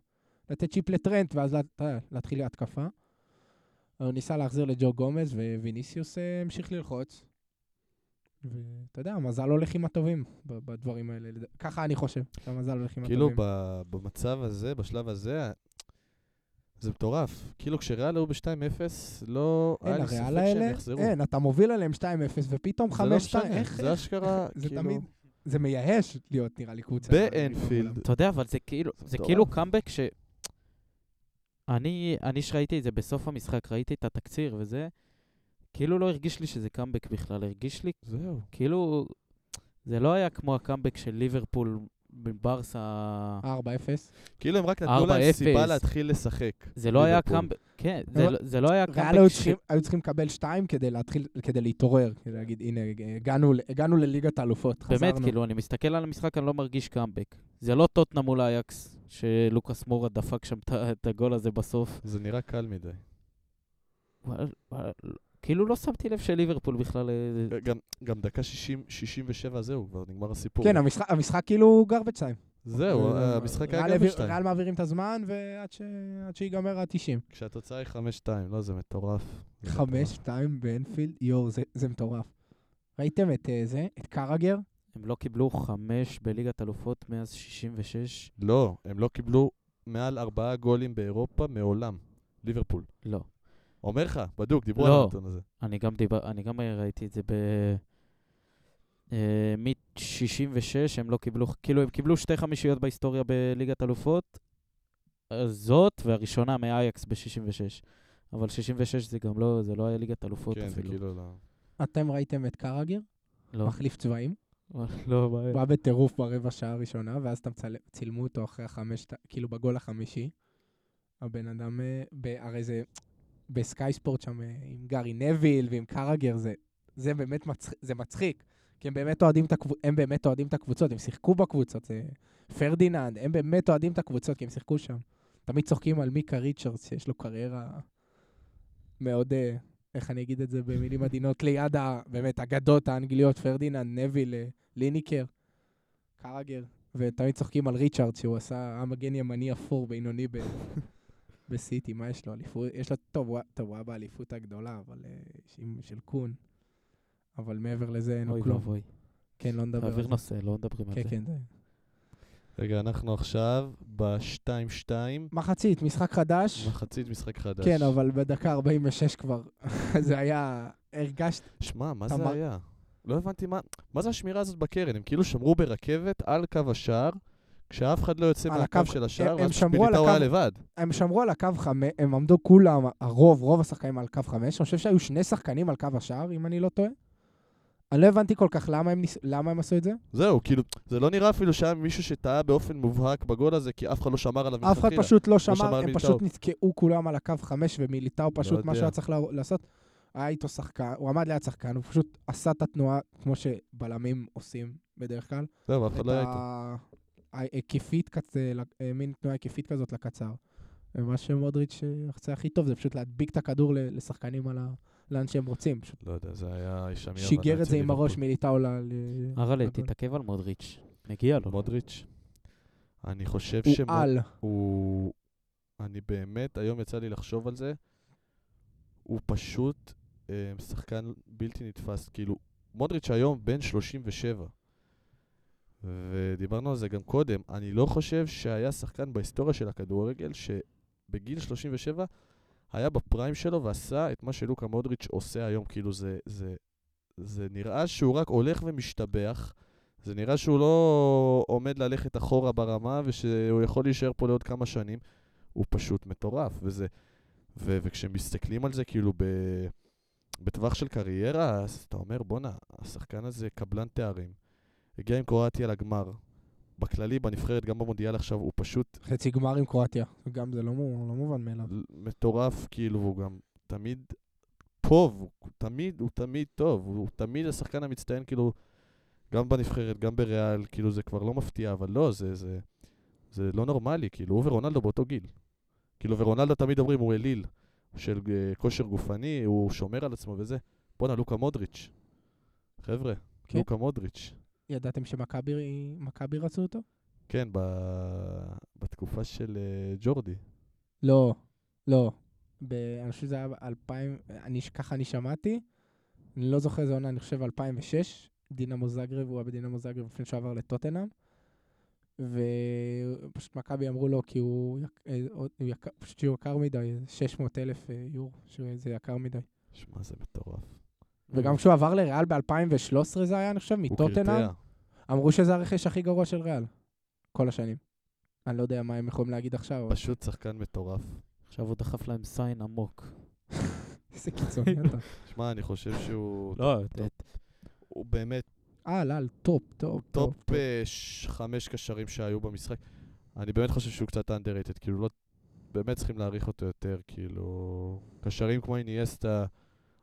B: לתת צ'יפ לטרנט ואז לה- אתה יודע, להתחיל להתקפה. הוא ניסה להחזיר לג'ו גומז, וויניסיוס אה, המשיך ללחוץ. ואתה יודע, המזל הולך עם הטובים ב- בדברים האלה. לד- ככה אני חושב, שהמזל הולך עם
D: כאילו,
B: הטובים.
D: ב- במצב הזה, בשלב הזה, זה מטורף. כאילו, כשריאל היו ב-2-0, לא היה
B: אין,
D: לי ספק
B: הריאל
D: שהם
B: האלה,
D: יחזרו.
B: אין, אתה מוביל עליהם 2-0, ופתאום 5-2,
D: זה לא משנה,
B: איך?
D: זה אשכרה,
B: זה
D: כאילו,
B: תמיד, זה מייאש להיות נראה לי קבוצה.
D: באנפילד.
A: אתה יודע, אבל זה כאילו, זה
D: מטורף.
A: כאילו קאמבק ש... אני, אני שראיתי את זה בסוף המשחק, ראיתי את התקציר וזה, כאילו לא הרגיש לי שזה קאמבק בכלל, הרגיש לי
D: זהו.
A: כאילו, זה לא היה כמו הקאמבק של ליברפול בברסה,
B: 4-0.
D: כאילו, הם רק נתנו להם
A: 4-0.
D: סיבה להתחיל לשחק.
A: זה לא היה
D: ליברפול.
A: קאמבק, כן, זה לא- זה לא היה
B: ריאל היו
A: קאמבק ש...
B: צריכים- היו צריכים לקבל 2 כדי להתחיל, כדי להתעורר, כדי להגיד, הנה, הגענו ל- הגענו לליגת האלופות, חזרנו.
A: באמת, כאילו, אני מסתכל על המשחק, אני לא מרגיש קאמבק. זה לא טוטנה מול אייקס, שלוקאס מורה דפק שם את ה- את הגול הזה בסוף.
D: זה נראה קל מדי.
A: וואל- וואל- כאילו לא שמתי לב שליברפול בכלל... אה,
D: גם, גם דקה 60, 67 זהו, כבר נגמר הסיפור.
B: כן, המשחק- המשחק כאילו garbage time.
D: זהו,
B: אה,
D: המשחק
B: ריאל
D: היה גם
B: העביר-
D: בשתיים.
B: ריאל מעבירים את הזמן, ועד ש- עד שיגמר ה-90.
D: כשהתוצאה היא 5-2, לא, זה מטורף. זה מטורף.
B: 5-2 באנפילד, יואו, זה- זה מטורף. ראיתם את אה, זה? את קרגר?
A: הם לא קיבלו חמש בליגת אלופות מאז 66?
D: לא, הם לא קיבלו מעל ארבעה גולים באירופה מעולם. ליברפול.
A: לא.
D: אומר לך, בדוק, דיברו
A: לא.
D: על הנתון הזה.
A: אני גם דיבר... אני גם אה, ראיתי את זה ב... אה, מ-66 הם לא קיבלו, כאילו הם קיבלו שתי חמישיות בהיסטוריה בליגת אלופות, אה, זאת והראשונה מאייקס ב-66. אבל 66 זה גם לא, זה לא היה ליגת אלופות
D: כן, זה
A: אפילו.
D: כאילו לא...
B: אתם ראיתם את קרגר?
A: לא,
B: מחליף צבעים?
A: לא, מה-
B: הוא בא בטירוף ברבע שעה הראשונה, ואז אתה מצל... צילמו אותו אחרי החמש, כאילו בגול החמישי. הבן אדם, אה, ב... הרי זה בסקאי ספורט שם אה, עם גארי נביל ועם קרגר, זה, זה באמת מצח... זה מצחיק. כי הם באמת, אוהדים את הקב... הם באמת אוהדים את הקבוצות, הם שיחקו בקבוצות, זה פרדיננד, הם באמת אוהדים את הקבוצות, כי הם שיחקו שם. תמיד צוחקים על מיקה ריצ'רדס, שיש לו קריירה מאוד, אה, איך אני אגיד את זה במילים עדינות, ליד ה... באמת אגדות האנגליות, פרדיננד, נביל, אה, ליניקר. קרגר, ותמיד צוחקים על ריצ'ארד, שהוא עשה, היה מגן ימני אפור בינוני ב... בסיטי, מה יש לו? אליפות, יש לו, טוב, הוא היה- טוב, הוא היה באליפות הגדולה, אבל אה, עם- של קון. אבל מעבר לזה אין לו
A: אוי
B: כלום.
A: ואבוי.
B: כן, לא נדבר על
A: תעביר
B: זה.
A: נושא, לא מדברים על
B: כן,
A: זה.
B: כן, זה.
D: רגע, אנחנו עכשיו ב-2-2,
B: מחצית, משחק חדש.
D: מחצית משחק חדש.
B: כן, אבל בדקה 46 כבר. זה היה, הרגשת,
D: שמע, מה זה
B: אמר-
D: היה? לא הבנתי מה... מה זה השמירה הזאת בקרן? הם כאילו שמרו ברכבת על קו השער, כשאף אחד לא יוצא
B: על
D: מהקו
B: הקו-
D: של השער,
B: הם-
D: ואז
B: הם שמרו על
D: שפיליטאו היה
B: הקו-
D: לבד.
B: הם שמרו על הקו חמש, הם עמדו כולם, הרוב, רוב השחקנים על קו חמש, אני חושב שהיו שני שחקנים על קו השער, אם אני לא טועה. אני לא הבנתי כל כך למה הם, ניס... למה הם עשו את זה.
D: זהו, כאילו, זה לא נראה אפילו שהיה מישהו שטעה באופן מובהק בגול הזה, כי אף אחד לא שמר עליו
B: אף אחד
D: מלכתחילה.
B: פשוט לא
D: שמר
B: שמר,
D: על
B: הם
D: מיליטאו.
B: פשוט נתקעו כולם על הקו חמש, ומיליטאו פשוט, מה
D: לא יודע.
B: שהיה צריך לה- לעשות, היה איתו שחקן, הוא עמד ליד שחקן, הוא פשוט עשה את התנועה כמו שבלמים עושים בדרך כלל.
D: זהו, אף אחד
B: את
D: לא היה איתו.
B: ההיקפית, כצ- ל- אה, מין תנועה היקפית כזאת לקצר. ומה שמודריץ' אה, עושה הכי טוב זה פשוט להדביק את הכדור ל- לשחקנים על ה... לאן שהם רוצים. פשוט
D: לא יודע, זה היה שם ירבנה
B: שיגר את זה
D: אצל
B: עם הראש
D: ליברפול.
B: מליטאו ל... ל-
A: אראלה,
B: הגול.
A: תתעכב על מודריץ'. מגיע לו.
D: מודריץ'. אני חושב
B: הוא
D: שמו-
B: על.
D: הוא... אני באמת, היום יצא לי לחשוב על זה, הוא פשוט אה, שחקן בלתי נתפס. כאילו, מודריץ' היום בן 37, ודיברנו על זה גם קודם, אני לא חושב שהיה שחקן בהיסטוריה של הכדורגל שבגיל 37 היה בפריים שלו ועשה את מה שלוקה מודריץ' עושה היום. כאילו, זה, זה, זה נראה שהוא רק הולך ומשתבח. זה נראה שהוא לא עומד ללכת אחורה ברמה, ושהוא יכול להישאר פה לעוד כמה שנים. הוא פשוט מטורף, וזה... ו- וכשמסתכלים על זה כאילו ב... בטווח של קריירה, אז אתה אומר, בואנה, השחקן הזה קבלן תארים. הגיע עם קרואטיה לגמר. בכללי, בנבחרת, גם במונדיאל עכשיו, הוא פשוט
B: חצי גמר עם קרואטיה. גם זה לא מו- לא מובן מאליו.
D: מטורף, כאילו, והוא גם תמיד טוב, הוא תמיד, הוא תמיד טוב, הוא תמיד השחקן המצטיין, כאילו, גם בנבחרת, גם בריאל, כאילו, זה כבר לא מפתיע, אבל לא, זה, זה, זה לא נורמלי, כאילו, הוא ורונלדו באותו גיל. כאילו, ורונלדו תמיד אומרים, הוא אליל של אה, כושר גופני, הוא שומר על עצמו וזה. בואנה, לוקה מודריץ'. חבר'ה,
B: כן.
D: לוקה מודריץ'.
B: ידעתם שמכבי מכבי רצו אותו?
D: כן, ב... בתקופה של אה, ג'ורדי.
B: לא, לא. ב- אני חושב שזה היה ב-2000, אני- ככה אני שמעתי. אני לא זוכר איזה עונה, אני חושב 2006. דינמו זגרב, הוא היה בדינמו זגרב לפני שהוא עבר לטוטנאם. ופשוט מכבי אמרו לו כי הוא, יק- אה, הוא יקר, פשוט שהוא יקר מדי, 600 אלף אה, יורו, שזה יקר מדי.
D: שמע, זה מטורף.
B: וגם כשהוא עבר לריאל ב-2013 זה היה, אני חושב,
D: Mm. הוא
B: מטוטנאם,
D: קרטע.
B: אמרו שזה הרכש הכי גרוע של ריאל. כל השנים. אני לא יודע מה הם יכולים להגיד עכשיו, אבל
D: פשוט שחקן מטורף.
A: עכשיו הוא דחף להם סיין עמוק.
B: איזה קיצוני אתה.
D: שמע, אני חושב שהוא...
A: לא,
D: טוב. הוא באמת
B: אה, לא, על טופ, טופ, טופ.
D: טופ אה, ש- חמש קשרים שהיו במשחק. אני באמת חושב שהוא קצת underrated, כאילו לא... באמת צריכים להעריך אותו יותר, כאילו... קשרים כמו איניאסטה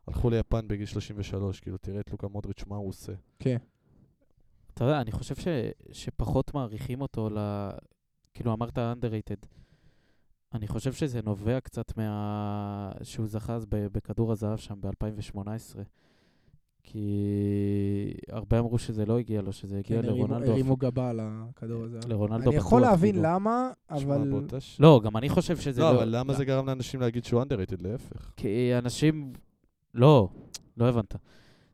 D: הלכו ליפן בגיל 33, כאילו, תראה את לוקה מודריץ', מה הוא עושה.
B: כן.
A: אתה יודע, אני חושב ש, שפחות מעריכים אותו ל... כאילו, אמרת underrated. אני חושב שזה נובע קצת מה... שהוא זכה אז ב- בכדור הזהב שם ב-2018. כי הרבה אמרו שזה לא הגיע לו, שזה
B: כן,
A: הגיע
B: הרימו-
A: לרונלדו.
B: הרימו גבה על הכדור הזה.
A: לרונלדו
B: אני יכול
A: לא, בטוח,
B: להבין
A: כאילו.
B: למה,
D: שמע,
B: אבל...
D: באותה ש-
A: לא, גם אני חושב שזה לא...
D: לא, אבל למה זה גרם לאנשים להגיד שהוא underrated? להפך.
A: כי אנשים... לא, לא הבנת.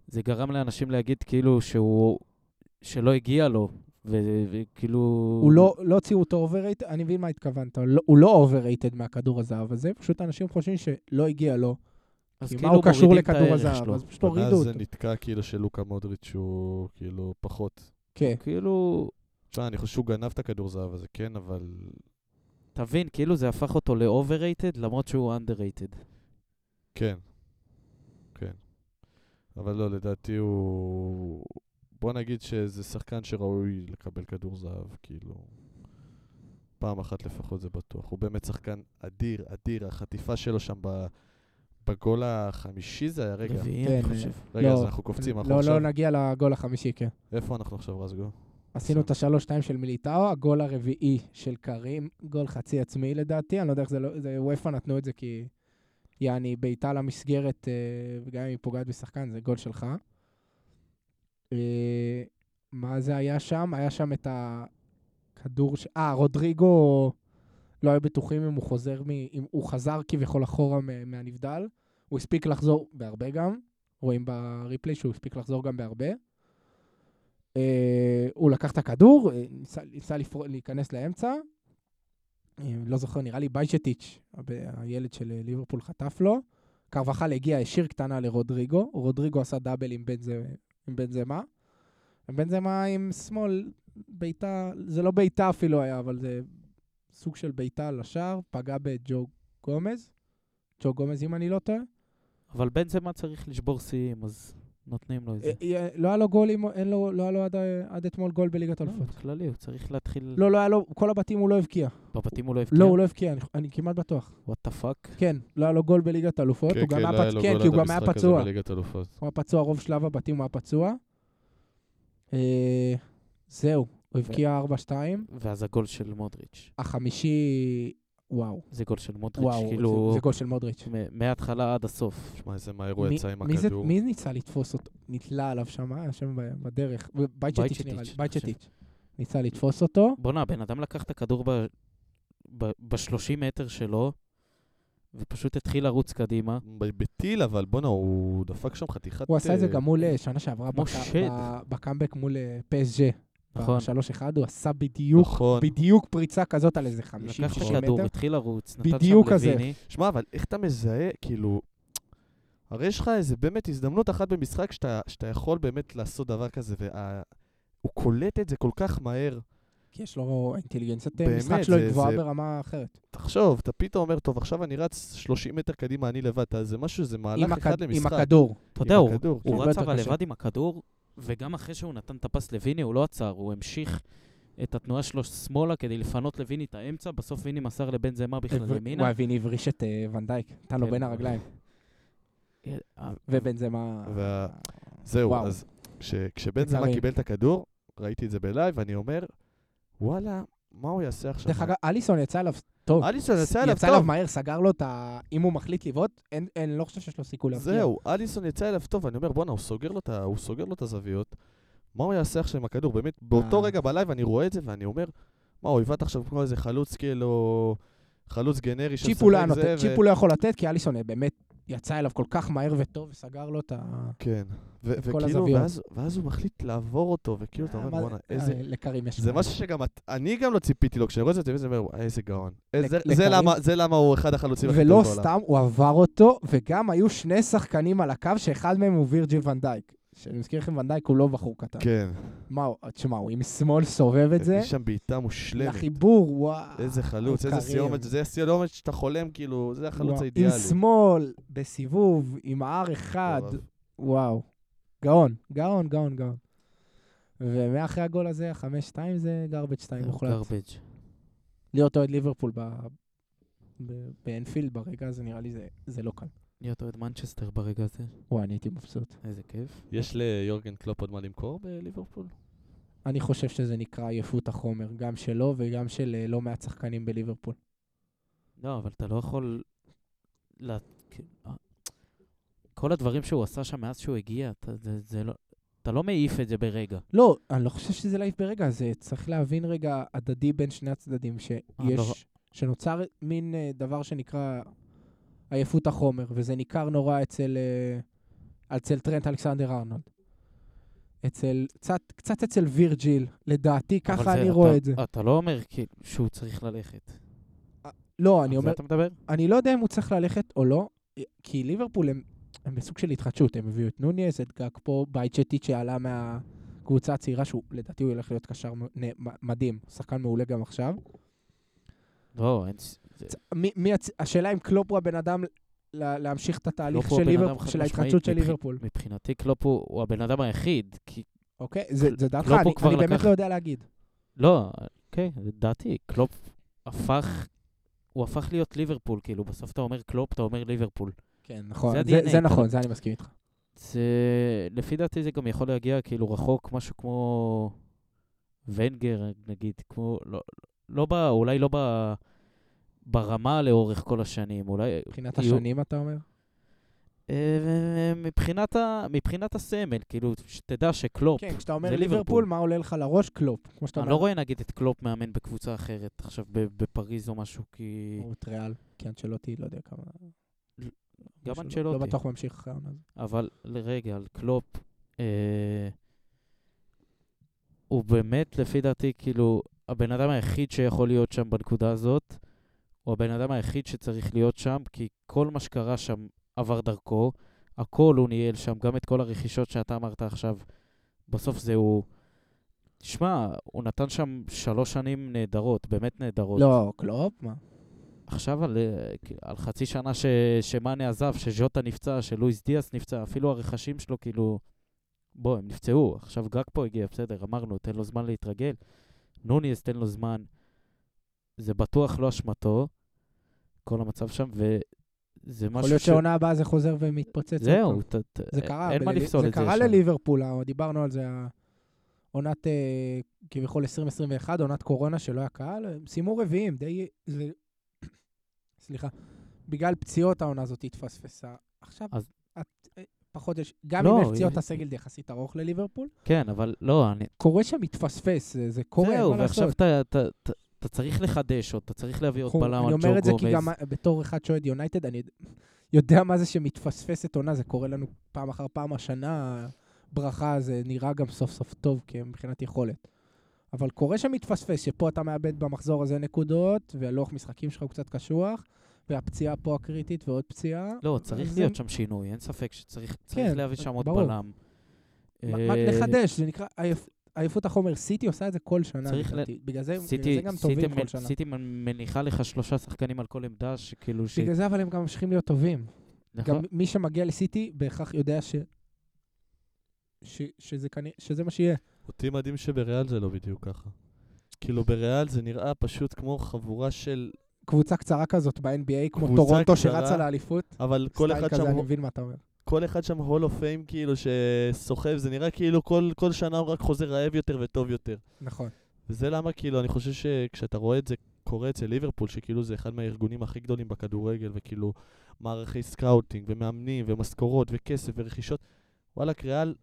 A: זה גרם לאנשים להגיד כאילו שהוא... שלא הגיע לו, ו- כאילו- וכאילו...
B: הוא לא לא הוציאו אותו אובררייטד, אני מבין מה התכוונת, לא- הוא לא אובררייטד מהכדור הזהב הזה, פשוט אנשים חושבים שלא הגיע לו,
A: אז
B: כי מה
A: כאילו
B: הוא קשור
A: מורידים את לא.
B: לכדור
A: הערך
B: הזהב,
A: שלו.
B: אז פשוט הורידו
D: ואז זה
B: אותו.
D: נתקע כאילו שלוקה מודריץ' הוא כאילו פחות.
B: כן,
A: כאילו,
D: תשמע, אני חושב שהוא גנב את הכדור זהב הזה, כן, אבל
A: תבין, כאילו זה הפך אותו ל-overrated למרות שהוא underrated.
D: כן. כן. אבל לא, לדעתי הוא... בוא נגיד שזה שחקן שראוי לקבל כדור זהב, כאילו... פעם אחת לפחות זה בטוח. הוא באמת שחקן אדיר, אדיר. החטיפה שלו שם ב... בגול החמישי זה היה, רגע.
A: רביעי,
B: כן,
A: אני
B: אה,
A: חושב.
D: רגע,
B: לא.
D: אז אנחנו קופצים, אנחנו
B: לא,
D: עכשיו...
B: לא נגיע לגול החמישי, כן.
D: איפה אנחנו עכשיו, רזגו?
B: עשינו את השלוש-שתיים של מיליטאו, הגול הרביעי של קרים, גול חצי עצמי לדעתי, אני לא יודע איך זה לא... זה וופא נתנו את זה כי... יעני, בעיטה למסגרת, אה, וגם אם היא פוגעת בשחקן, זה גול שלך. אה, מה זה היה שם? היה שם את הכדור ש... אה, רודריגו לא היו בטוחים אם הוא חוזר מ... אם הוא חזר כביכול אחורה מ- מהנבדל. הוא הספיק לחזור בהרבה גם, רואים בריפלי שהוא הספיק לחזור גם בהרבה. אה, הוא לקח את הכדור, אה, ניסה, ניסה לפר... להיכנס לאמצע. אה, לא זוכר, נראה לי ביישטיץ', הב- הילד של אה, ליברפול חטף לו. קרבחל הגיע, השאיר קטנה לרודריגו. רודריגו עשה דאבל עם בנזמה. עם בנזמה, ובנזמה עם שמאל, בעיטה, זה לא בעיטה אפילו היה, אבל זה סוג של בעיטה לשער, פגע בג'ו גומז. ג'ו גומז, אם אני לא טועה.
A: אבל בנזמה צריך לשבור שיאים, אז נותנים לו את זה.
B: אה, אה, לא היה לו גולים, אין לו, לא היה לו עד, ה- עד אתמול גול בליגת
A: לא,
B: אלופות.
A: בכללי, הוא צריך להתחיל...
B: לא, לא היה לו, כל הבתים הוא לא הבקיע.
A: בבתים הוא לא הבקיע?
B: לא, הוא לא הבקיע, אני- אני כמעט בטוח.
A: וואט דה פאק?
B: כן, לא היה לו גול בליגת אלופות, הוא גם היה
D: לא היה לו
B: פצוע, כן,
D: גול
B: כי הוא
D: עד
B: גם היה
D: המשחק הזה
B: פצוע.
D: בליגת אלופות.
B: הוא היה פצוע רוב שלב הבתים, הוא היה פצוע. אה, זהו, הוא הבקיע 4-2.
A: ואז הגול של מודריץ'.
B: החמישי, וואו,
A: זה גול של מודריץ',
B: וואו,
A: כאילו...
B: זה- זה גול של מודריץ'.
A: מ- מההתחלה עד הסוף.
D: שמע, איזה מהר הוא
B: מי-
D: יצא עם
B: מי זה-
D: הכדור.
B: מי ניסה לתפוס אותו? נתלה עליו שם, היה שם ב- בדרך. בייצ'טיץ' נראה
A: בייצ'טיץ',
B: לי,
A: אני
B: בייצ'טיץ'. ניסה לתפוס אותו.
A: בואנה, הבן אדם לקח את הכדור ב-30 מטר שלו, ופשוט התחיל לרוץ קדימה.
D: ב- בטיל, אבל בואנה, הוא דפק שם חתיכת...
B: הוא עשה את זה
D: אה,
B: גם מול, אה, שנה שעברה,
A: כמו
B: בק-
A: שד.
B: ב- בקאמבק מול אה, פסג'ה.
A: נכון.
B: ב-3-1 הוא עשה בדיוק
D: נכון.
B: בדיוק פריצה כזאת על איזה 50-60
A: לקח את הכדור,
B: מטר.
A: התחיל לרוץ, נתן
B: בדיוק
A: שם
B: הזה.
A: לויני.
D: שמע, אבל איך אתה מזהה, כאילו... הרי יש לך איזה באמת הזדמנות אחת במשחק שאתה, שאתה יכול באמת לעשות דבר כזה, והוא קולט את זה כל כך מהר.
B: כי יש לו אינטליגנציית
D: באמת,
B: משחק שלו היא
D: זה-
B: גבוהה
D: זה-
B: ברמה אחרת.
D: תחשוב, אתה פתאום אומר, טוב, עכשיו אני רץ 30 מטר קדימה, אני לבד, אתה- זה משהו, זה מהלך
B: עם
D: אחד
B: הכד- עם
D: למשחק.
B: הכדור.
A: אתה יודע, הוא-
D: הכדור, כן.
A: הוא
B: הרבה
A: רץ
B: יותר
A: אבל
B: קשה.
A: לבד עם הכדור, וגם אחרי שהוא נתן את הפס לוויני, הוא לא עצר, הוא המשיך את התנועה שלו שמאלה כדי לפנות לוויני את האמצע, בסוף ויני מסר לבן זמה בכלל ימינה.
B: וואי, ויני הבריש את אה, ונדייק, נתן לו
A: כן.
B: בין הרגליים.
A: אה,
B: ובנזמה...
D: וה- זהו,
B: וואו.
D: אז כש- כשבן זמה
B: לצערי.
D: קיבל את הכדור, ראיתי את זה בלייב, ואני אומר, וואלה, מה הוא יעשה עכשיו?
B: דרך אגב, אליסון יצא אליו טוב.
D: אליסון אה, יצא אליו
B: יצא אליו
D: טוב.
B: מהר, סגר לו את ה... אם הוא מחליט לבעוט, אין- אין- לא חושב שיש לו סיכוי להבקיע.
D: זהו, אליסון יצא אליו טוב, אני אומר, בואנה, הוא סוגר לו את ה- הוא סוגר לו את הזוויות. מה הוא יעשה עכשיו עם הכדור? באמת, באותו
B: אה.
D: רגע בלייב אני רואה את זה ואני אומר, מה, הוא הבאת עכשיו כמו איזה חלוץ כאילו, חלוץ גנרי
B: צ'יפ הוא לא היה
D: שמשחק
B: נותן-
D: ו-
B: צ'יפ הוא לא יכול לתת, כי אליסון אה, באמת יצא אליו כל כך מהר וטוב, וסגר לו את ה...
D: כן. ו-
B: את כל
D: וכאילו,
B: הזוויות.
D: ואז- ואז הוא מחליט לעבור אותו, וכאילו, כאילו, אתה אומר,
B: מה-
D: בואנה,
B: אה,
D: איזה...
B: לקרים יש...
D: זה
B: בעיה.
D: משהו שגם את- אני גם לא ציפיתי לו, כשאני רואה את זה, אני אומר, "וואי, איזה גאון. אה, זה-
B: לקרים?
D: זה למה- זה למה הוא אחד החלוצים הכי
B: ולא
D: טובים בעולם.
B: סתם, הוא עבר אותו, וגם היו שני שחקנים על הקו, שאחד מהם הוא וירג'יל ונדייק. שאני מזכיר לכם, ונדייק הוא לא בחור קטן.
D: כן.
B: מה, הוא- תשמע, הוא עם שמאל סובב את זה,
D: יש שם בעיטה מושלמת.
B: לחיבור, וואו.
D: איזה חלוץ, איזה
B: קרים.
D: סיומת, זה הסיומת שאתה חולם, כאילו, זה החלוץ
B: וואו.
D: האידיאלי.
B: עם שמאל, בסיבוב, עם R1,
D: מטורף.
B: וואו. גאון, גאון, גאון, גאון. ומאחרי הגול הזה, ה-5-2 זה garbage
D: אה,
B: 2
A: הוא
B: מוחלט.
A: garbage.
B: להיות אוהד ליברפול ב- ב- באנפילד ברגע הזה, נראה לי זה- זה לא קל.
A: להיות אוהד מנצ'סטר ברגע הזה,
B: וואי, אני הייתי מבסוט.
A: איזה כיף.
D: יש ליורגן קלופ עוד מה למכור בליברפול?
B: אני חושב שזה נקרא עייפות החומר, גם שלו וגם של אה, לא מעט שחקנים בליברפול.
A: לא, אבל אתה לא יכול... לה- כ- אה, כל הדברים שהוא עשה שם מאז שהוא הגיע, אתה- זה- זה לא- אתה לא מעיף את זה ברגע.
B: לא, אני לא חושב שזה להעיף ברגע, זה צריך להבין רגע הדדי בין שני הצדדים,
A: אה, נורא.
B: שיש, שנוצר מין אה, דבר שנקרא עייפות החומר, וזה ניכר נורא אצל, אה, אצל טרנט אלכסנדר ארנולד. אצל, קצת, קצת אצל וירג'יל, לדעתי,
A: אבל
B: ככה
A: זה-
B: אני
A: אתה-
B: רואה את זה.
A: אתה לא אומר כאילו שהוא צריך ללכת.
B: לא,
A: על
B: אני
A: זה
B: אומר,
A: אתה מדבר?
B: אני לא יודע אם הוא צריך ללכת או לא, כי ליברפול הם, הם בסוג של התחדשות, הם הביאו את נוניס, את גאקפו, בייצ'טיט שעלה מהקבוצה הצעירה, שהוא לדעתי הוא ילך להיות קשר מ- נ- מ- מדהים, שחקן מעולה גם עכשיו.
A: לא, אין... ס- זה-
B: צ- מי, מי הצ... השאלה אם קלופ הוא הבן אדם ל- להמשיך את התהליך
A: קלופ הוא
B: של,
A: לא הבן
B: ליבר...
A: אדם חד
B: של
A: משמעית,
B: ההתחדשות של
A: מבחי-
B: ליברפול,
A: מבחינתי קלופ הוא הוא הבן אדם היחיד, כי...
B: אוקיי? זה, זה דעתך,
A: קלופ הוא
B: אני,
A: כבר
B: אני באמת
A: לקח-
B: לא יודע להגיד.
A: לא, אוקיי, זה דעתי, קלופ הפך... הוא הפך להיות ליברפול, כאילו, בסוף אתה אומר קלופ, אתה אומר ליברפול.
B: כן, נכון,
A: זה
B: זה,
A: ה-DNA,
B: זה, זה
A: אתה-
B: נכון, זה אני מסכים איתך.
A: זה... לפי דעתי זה גם יכול להגיע כאילו רחוק, משהו כמו ונגר, נגיד, כמו... לא, לא ב... אולי לא ב... ברמה לאורך כל השנים, אולי...
B: מבחינת
A: יהיו-
B: השנים, אתה אומר?
A: אה, מבחינת, ה... מבחינת הסמל, כאילו, שתדע שקלופ...
B: כן, כשאתה אומר
A: זה
B: ליברפול,
A: ליברפול.
B: מה עולה לך לראש? קלופ. כמו שאתה
A: אני
B: אומר,
A: לא רואה נגיד את קלופ מאמן בקבוצה אחרת עכשיו ב- בפריז או משהו, כי
B: או את ריאל, כי אנצ'לוטי, לא יודע כמה...
A: גם
B: שלא- לא
A: אנצ'לוטי.
B: בטוח ממשיך אחרי העונה הזאת.
A: אבל לרגע, על קלופ, אה, הוא באמת, לפי דעתי, כאילו, הבן אדם היחיד שיכול להיות שם בנקודה הזאת, הוא הבן אדם היחיד שצריך להיות שם, כי כל מה שקרה שם עבר דרכו, הכל הוא ניהל שם, גם את כל הרכישות שאתה אמרת עכשיו, בסוף זה הוא... תשמע, הוא נתן שם שלוש שנים נהדרות, באמת נהדרות.
B: לא, קלופ? מה?
A: עכשיו על, אה, כ- על חצי שנה ש, שמאנה עזב, שז'וטה נפצע, שלואיס דיאס נפצע, אפילו הרכשים שלו כאילו... בוא, הם נפצעו, עכשיו גג פה הגיע, בסדר, אמרנו, תן לו זמן להתרגל. נוניס, תן לו זמן. זה בטוח לא אשמתו, כל המצב שם, וזה
B: יכול
A: משהו
B: להיות שהעונה הבאה זה חוזר ומתפוצץ. עוד
A: זהו,
B: פעם.
A: ת, ת,
B: זה קרה.
A: אין מה
B: בליל-
A: לפסול את זה.
B: זה קרה
A: שם.
B: לליברפול, ה- דיברנו על זה, ה- עונת אה, כביכול 2021, עונת קורונה שלא היה קהל, הם סיימו רביעים, די... זה- סליחה. בגלל פציעות העונה הזאת התפספסה. עכשיו,
A: אז-
B: את- אה, פחות יש... גם
A: לא,
B: אם יש פציעות,
A: היא-
B: הסגל יחסית ארוך לליברפול,
A: כן, אבל לא, אני...
B: קורה שם מתפספס, זה- זה קורה, אין
A: זהו,
B: מה לעשות.
A: ועכשיו אתה, אתה, אתה, אתה צריך לחדש עוד, אתה צריך להביא עוד
B: קחו,
A: בלם על
B: אני
A: ג'ו גומז.
B: אומר את זה כי גם אה, בתור אחד שאוהד יונייטד, אני יודע מה זה שמתפספסת עונה, זה קורה לנו פעם אחר פעם השנה, ברכה, זה נראה גם סוף סוף טוב כי מבחינת יכולת. אבל קורה שמתפספס, שפה אתה מאבד במחזור הזה נקודות, והלוח משחקים שלך הוא קצת קשוח, והפציעה פה הקריטית ועוד פציעה.
A: לא, צריך
B: אז
A: להיות
B: זה-
A: שם שינוי, אין ספק שצריך
B: כן,
A: צריך להביא שם עוד
B: ברור.
A: בלם.
B: מה- מה-
A: אה,
B: לחדש, זה נקרא עייפ- עייפות החומר. סיטי עושה את זה כל שנה,
A: צריך ל-
B: לדעתי. בגלל זה בגלל
A: סיטי,
B: זה גם
A: סיטי,
B: טובים
A: מנ-
B: כל שנה.
A: סיטי מנ- מניחה לך שלושה שחקנים על כל עמדה, שכאילו ש...
B: בגלל זה אבל הם גם ממשיכים להיות טובים.
A: נכון?
B: גם מי שמגיע לסיטי בהכרח יודע ש... ש... שזה, כנראה, שזה מה שיהיה.
D: אותי מדהים שבריאל זה לא בדיוק ככה. כאילו בריאל זה נראה פשוט כמו חבורה של...
B: קבוצה קצרה כזאת ב-NBA, כמו
D: קבוצה
B: טורונטו
D: קצרה,
B: שרצה לאליפות.
D: אבל כל
B: סטייל
D: אחד
B: כזה,
D: שם
B: אני
D: הוא-
B: מבין מה אתה אומר.
D: כל אחד שם הול אוף פיים כאילו שסוחב, זה נראה כאילו כל, כל שנה הוא רק חוזר רעב יותר וטוב יותר.
B: נכון.
D: וזה למה כאילו, אני חושב שכשאתה רואה את זה קורה אצל ליברפול, שכאילו זה אחד מהארגונים הכי גדולים בכדורגל, וכאילו מערכי סקאוטינג, ומאמנים, ומשכורות, וכסף, ורכישות, וואלכ, ריאל,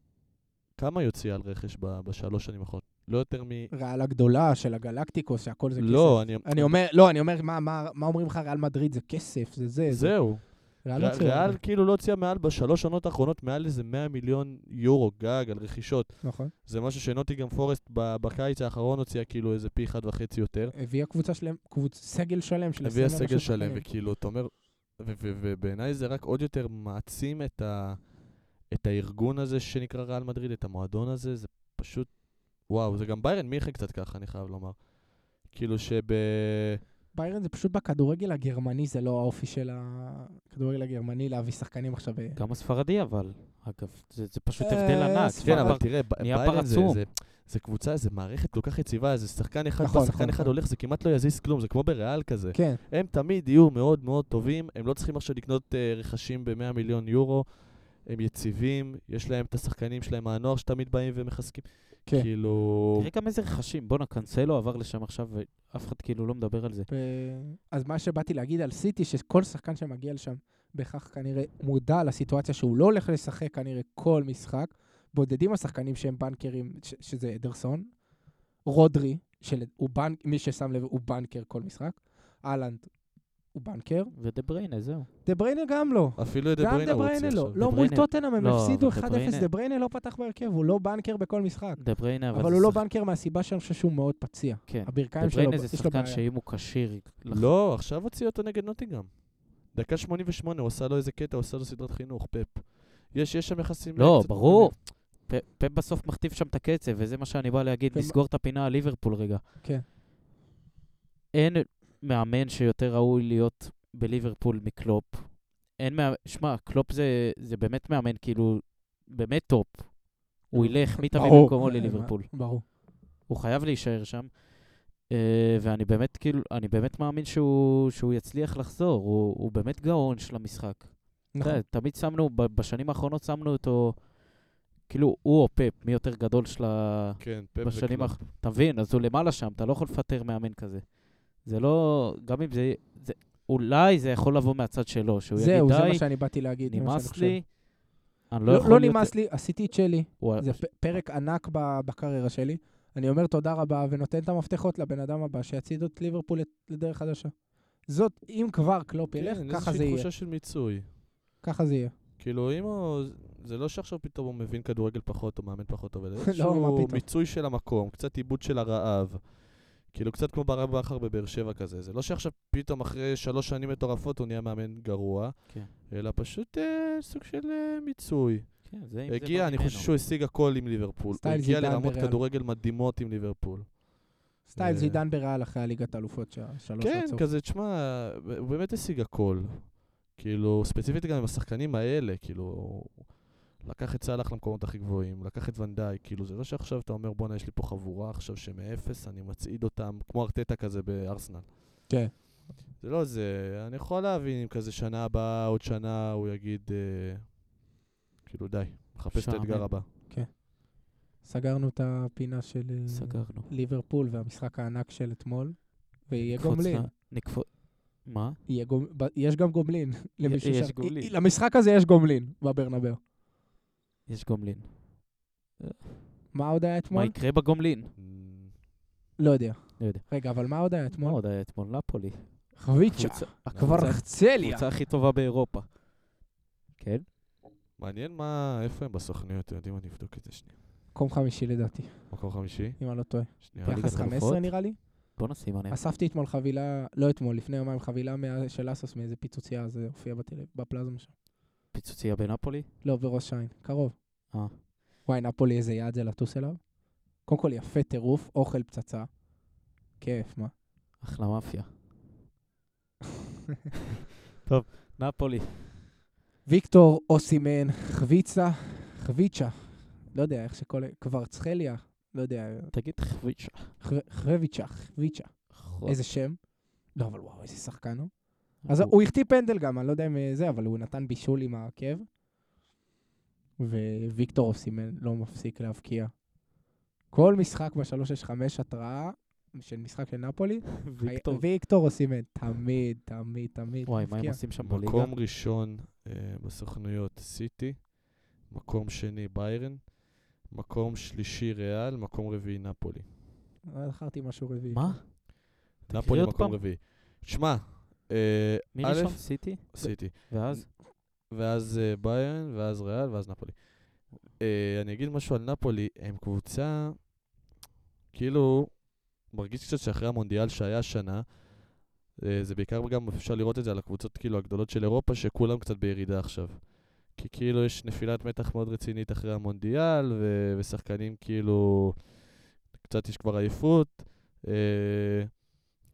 D: כמה יוציא על רכש ב- בשלוש שנים האחרונות? לא יותר מ...
B: ריאל הגדולה של הגלקטיקוס, שהכל זה כסף.
D: לא, אני...
B: אני אומר, לא, אני אומר, מה, מה, מה אומרים לך, ריאל מדריד זה כסף, זה זה. זה.
D: זהו.
B: ריאל לא
D: ר-
B: הוציאו
D: ריאל
B: הרבה.
D: כאילו לא הוציאה מעל, בשלוש שנות האחרונות, מעל איזה 100 מיליון יורו גג על רכישות.
B: נכון.
D: זה משהו שנוטיגם פורסט ב- בקיץ האחרון הוציאה כאילו איזה פי אחד וחצי יותר.
B: הביאה קבוצה שלם, קבוצ... סגל שלם של 20
D: הביאה סגל
B: ומשהו
D: שלם,
B: שחקנים.
D: וכאילו, אתה אומר, ו- ו- ובעיניי זה רק עוד יותר מעצים את, ה, את הארגון הזה שנקרא ריאל מדריד, את המועדון הזה, זה פשוט, וואו, זה גם ביירן מיכה קצת ככה, אני חייב לומר. כאילו שב...
B: ביירן זה פשוט בכדורגל הגרמני, זה לא האופי של הכדורגל הגרמני להביא שחקנים עכשיו. אה,
D: כן.
A: גם הספרדי, אבל, אגב, זה זה פשוט
B: אה,
A: הבדל ענק.
B: הספרד.
D: כן,
A: זה
D: אבל
A: דבר-
D: תראה, ב-
A: נהיה
D: ביירן זה,
A: פרצום.
D: זה, זה קבוצה, זה מערכת כל כך יציבה, זה שחקן אחד
B: נכון,
D: נכון, שחקן
B: נכון,
D: אחד
B: נכון.
D: הולך, זה כמעט לא יזיז כלום, זה כמו בריאל כזה.
B: כן,
D: הם תמיד יהיו מאוד מאוד טובים, הם לא צריכים עכשיו לקנות אה, רכשים ב-100 מיליון יורו, הם יציבים, יש להם את השחקנים שלהם מהנוער שתמיד באים ומחזקים.
B: כן.
D: כאילו...
A: תראה גם איזה רכשים, בואנה, קאנסלו עבר לשם עכשיו, ואף אחד כאילו לא מדבר על זה.
B: ו- אז מה שבאתי להגיד על סיטי, שכל שחקן שמגיע לשם בהכרח כנראה מודע לסיטואציה שהוא לא הולך לשחק כנראה כל משחק. בודדים השחקנים שהם בנקרים, ש- שזה אדרסון, רודרי, שהוא בנק, מי ששם לב, הוא בנקר כל משחק, אהלנד הוא בנקר,
A: ודה בריינה, זהו.
B: דה בריינה גם לא.
D: אפילו את
B: גם
D: דבריינה
B: דה
D: הוא הוציא
B: בריינה
D: עכשיו.
B: לא. לא, מול
A: בריינה-
B: טוטנאם הם
A: לא,
B: הפסידו
A: אבל דה
B: 1-0,
A: בריינה-
B: דה בריינה לא פתח בהרכב, הוא לא בנקר בכל משחק.
A: דה בריינה, אבל...
B: אבל
A: זה
B: הוא לא
A: שחק-
B: בנקר מהסיבה שאני חושב שהוא מאוד פציע.
A: כן. דה
B: הברכיים שלו,
A: בריינה זה
B: יש לו
A: שחקן
B: בעיה.
A: שאם הוא כשיר... לח-
D: לא, עכשיו הוציא אותו נגד נוטינגאם. דקה 88, הוא עשה לו איזה קטע, הוא עשה לו סדרת חינוך, פאפ. יש, יש שם יחסים...
A: לא,
D: קצת
A: ברור. פ- פפ בסוף מכתיב שם את הקצב, וזה מה שאני בא להגיד,
B: ומה-
A: לסגור את הפינה על ליברפול רגע.
B: כן.
A: אין מאמן שיותר ראוי להיות בליברפול מקלופ. אין מאמן, שמע, קלופ זה, זה באמת מאמן, כאילו, באמת טופ. הוא ילך, מי תביא
B: ברור.
A: במקומו
B: אה,
A: לליברפול?
B: ברור.
A: הוא חייב להישאר שם. Uh, ואני באמת, כאילו, אני באמת מאמין שהוא, שהוא יצליח לחזור. הוא, הוא באמת גאון של המשחק.
B: נכון.
A: אתה יודע, תמיד שמנו, ב- בשנים האחרונות שמנו אותו, כאילו, הוא או פאפ, מי יותר גדול של ה...
D: כן, פאפ
A: בשנים
D: וקלופ.
A: האח... אתה מבין? אז הוא למעלה שם, אתה לא יכול לפטר מאמן כזה. זה לא... גם אם זה... זה אולי זה יכול לבוא מהצד שלו, שהוא יגיד,
B: זהו, זה מה
A: די,
B: שאני באתי להגיד. זה מה שאני
A: נמאס
B: חושב."
A: לי, אני לא
B: לא
A: יכול...
B: לא
A: להיות- אה,
B: נמאס לי, עשיתי את שלי.
A: הוא-
B: זה פ- פרק ענק ב- בקריירה שלי. אני אומר תודה רבה ונותן את המפתחות לבן אדם הבא שיצעיד את ליברפול לת- לדרך חדשה. זאת, אם כבר קלופ ילך,
D: כן,
B: ככה זה
D: איזושהי
B: יהיה.
D: תחושה של מיצוי.
B: ככה זה יהיה.
D: כאילו, אם הוא... זה לא שעכשיו פתאום הוא מבין כדורגל פחות או מאמן פחות טוב, אלא
B: לא, מה
D: איזשהו
B: פתאום.
D: מיצוי של המקום, קצת עיבוד של הרעב. כאילו, קצת כמו ברב בכר בבאר שבע כזה. זה לא שעכשיו פתאום אחרי שלוש שנים מטורפות הוא נהיה מאמן גרוע,
A: כן.
D: אלא פשוט אה, סוג של אה, מיצוי.
A: כן, זה אם זה
D: הגיע,
A: בא
D: אני
A: ממנו.
D: חושב שהוא השיג הכל עם ליברפול. הוא
B: סטייל
D: הגיע
B: זידן
D: לרמות
B: בריאל.
D: כדורגל מדהימות עם ליברפול.
B: סטייל
D: אה.
B: זידן בריאל אחרי הליגת האלופות, שה- שלוש
D: כן,
B: רצוף.
D: כזה, תשמע, הוא באמת השיג הכל. כאילו, ספציפית גם עם השחקנים האלה, כאילו, הוא לקח את סאלח למקומות הכי גבוהים, לקח את ונדאי, כאילו, זה לא שעכשיו אתה אומר, בואנה, יש לי פה חבורה עכשיו שמאפס, אני מצעיד אותם, כמו ארטטה כזה בארסנל.
B: כן.
D: זה לא זה, אני יכול להבין אם כזה שנה הבאה, עוד שנה, הוא יגיד, אה, כאילו, די, מחפש את
A: משעמם.
D: האתגר הבא.
B: סגרנו את הפינה של אה,
A: סגרנו.
B: ליברפול והמשחק הענק של אתמול, ויהיה
A: נקפוץ
B: גומלין.
A: ל- נקפוץ... מה?
B: יהיה גומ- ב- יש גם גומלין. למישהו
A: יש
B: שם.
A: גומלין.
B: אי- אי- למשחק הזה יש גומלין בברנבאו.
A: יש גומלין.
B: מה עוד היה
A: מה
B: אתמול?
A: יקרה בגומלין?
B: לא יודע.
A: לא יודע.
B: רגע, אבל מה עוד היה
A: מה
B: אתמול?
A: עוד היה אתמול? נפולי.
B: חביצ'ה,
A: קבוצה- הקבוצה-
B: קברצליה.
A: הקבוצה הכי טובה באירופה. כן?
D: מעניין מה, איפה הם בסוכניות, אתם יודעים, אני אבדוק את זה שנייה.
B: מקום חמישי לדעתי,
D: מקום חמישי?
B: אם אני לא טואה.
D: שנייה.
A: בליגת
B: יחס
A: האלופות?
B: 15 נראה לי?
A: בוא נשים עליהם.
B: אספתי אתמול חבילה, לא אתמול, לפני יומיים חבילה מה- של אסוס מאיזה פיצוצייה, זה הופיע בטלו- בפלזמה שם.
A: פיצוצייה בנפולי?
B: לא, בראש העין, קרוב.
A: אה.
B: וואי, נפולי איזה יעד זה לטוס אליו. קודם כל יפה, טירוף, אוכל, פצצה. כיף, מה?
A: אחלה מאפיה. טוב, נפולי.
B: ויקטור אוסימן, חביצה, חביצ'ה, לא יודע איך שכל... קוורצחליה, לא יודע,
A: תגיד חביצ'ה.
B: חו- חביצ'ה, חביצ'ה. איזה שם. לא, אבל וואו, איזה שחקן הוא. אז
A: הוא-
B: הוא החטיא פנדל גם, אני לא יודע אם אה, זה, אבל הוא נתן בישול עם העקב. וויקטור אוסימן לא מפסיק להבקיע. כל משחק ב-365 התראה של משחק של נפולי,
A: ויקטור.
B: ויקטור אוסימן, תמיד, תמיד, תמיד.
A: וואי, מה הם
B: מבקיע.
A: עושים שם בליגה?
D: מקום ראשון אה, בסוכנויות סיטי, מקום שני ביירן, מקום שלישי ריאל, מקום רביעי נפולי.
B: אה, זכרתי משהו רביעי.
A: מה?
D: נפולי
A: עוד
D: מקום
A: פעם.
D: רביעי. שמע, אה,
A: מי
D: א',
A: ראשון? סיטי?
D: סיטי,
A: ואז?
D: ואז אה, ביירן, ואז ריאל, ואז נפולי. אה, אני אגיד משהו על נפולי, הם קבוצה, כאילו, מרגיש קצת שאחרי המונדיאל שהיה השנה, אה, זה בעיקר גם אפשר לראות את זה על הקבוצות כאילו הגדולות של אירופה, שכולם קצת בירידה עכשיו. כי כאילו יש נפילת מתח מאוד רצינית אחרי המונדיאל, ו- ושחקנים כאילו, קצת יש כבר עייפות, אה,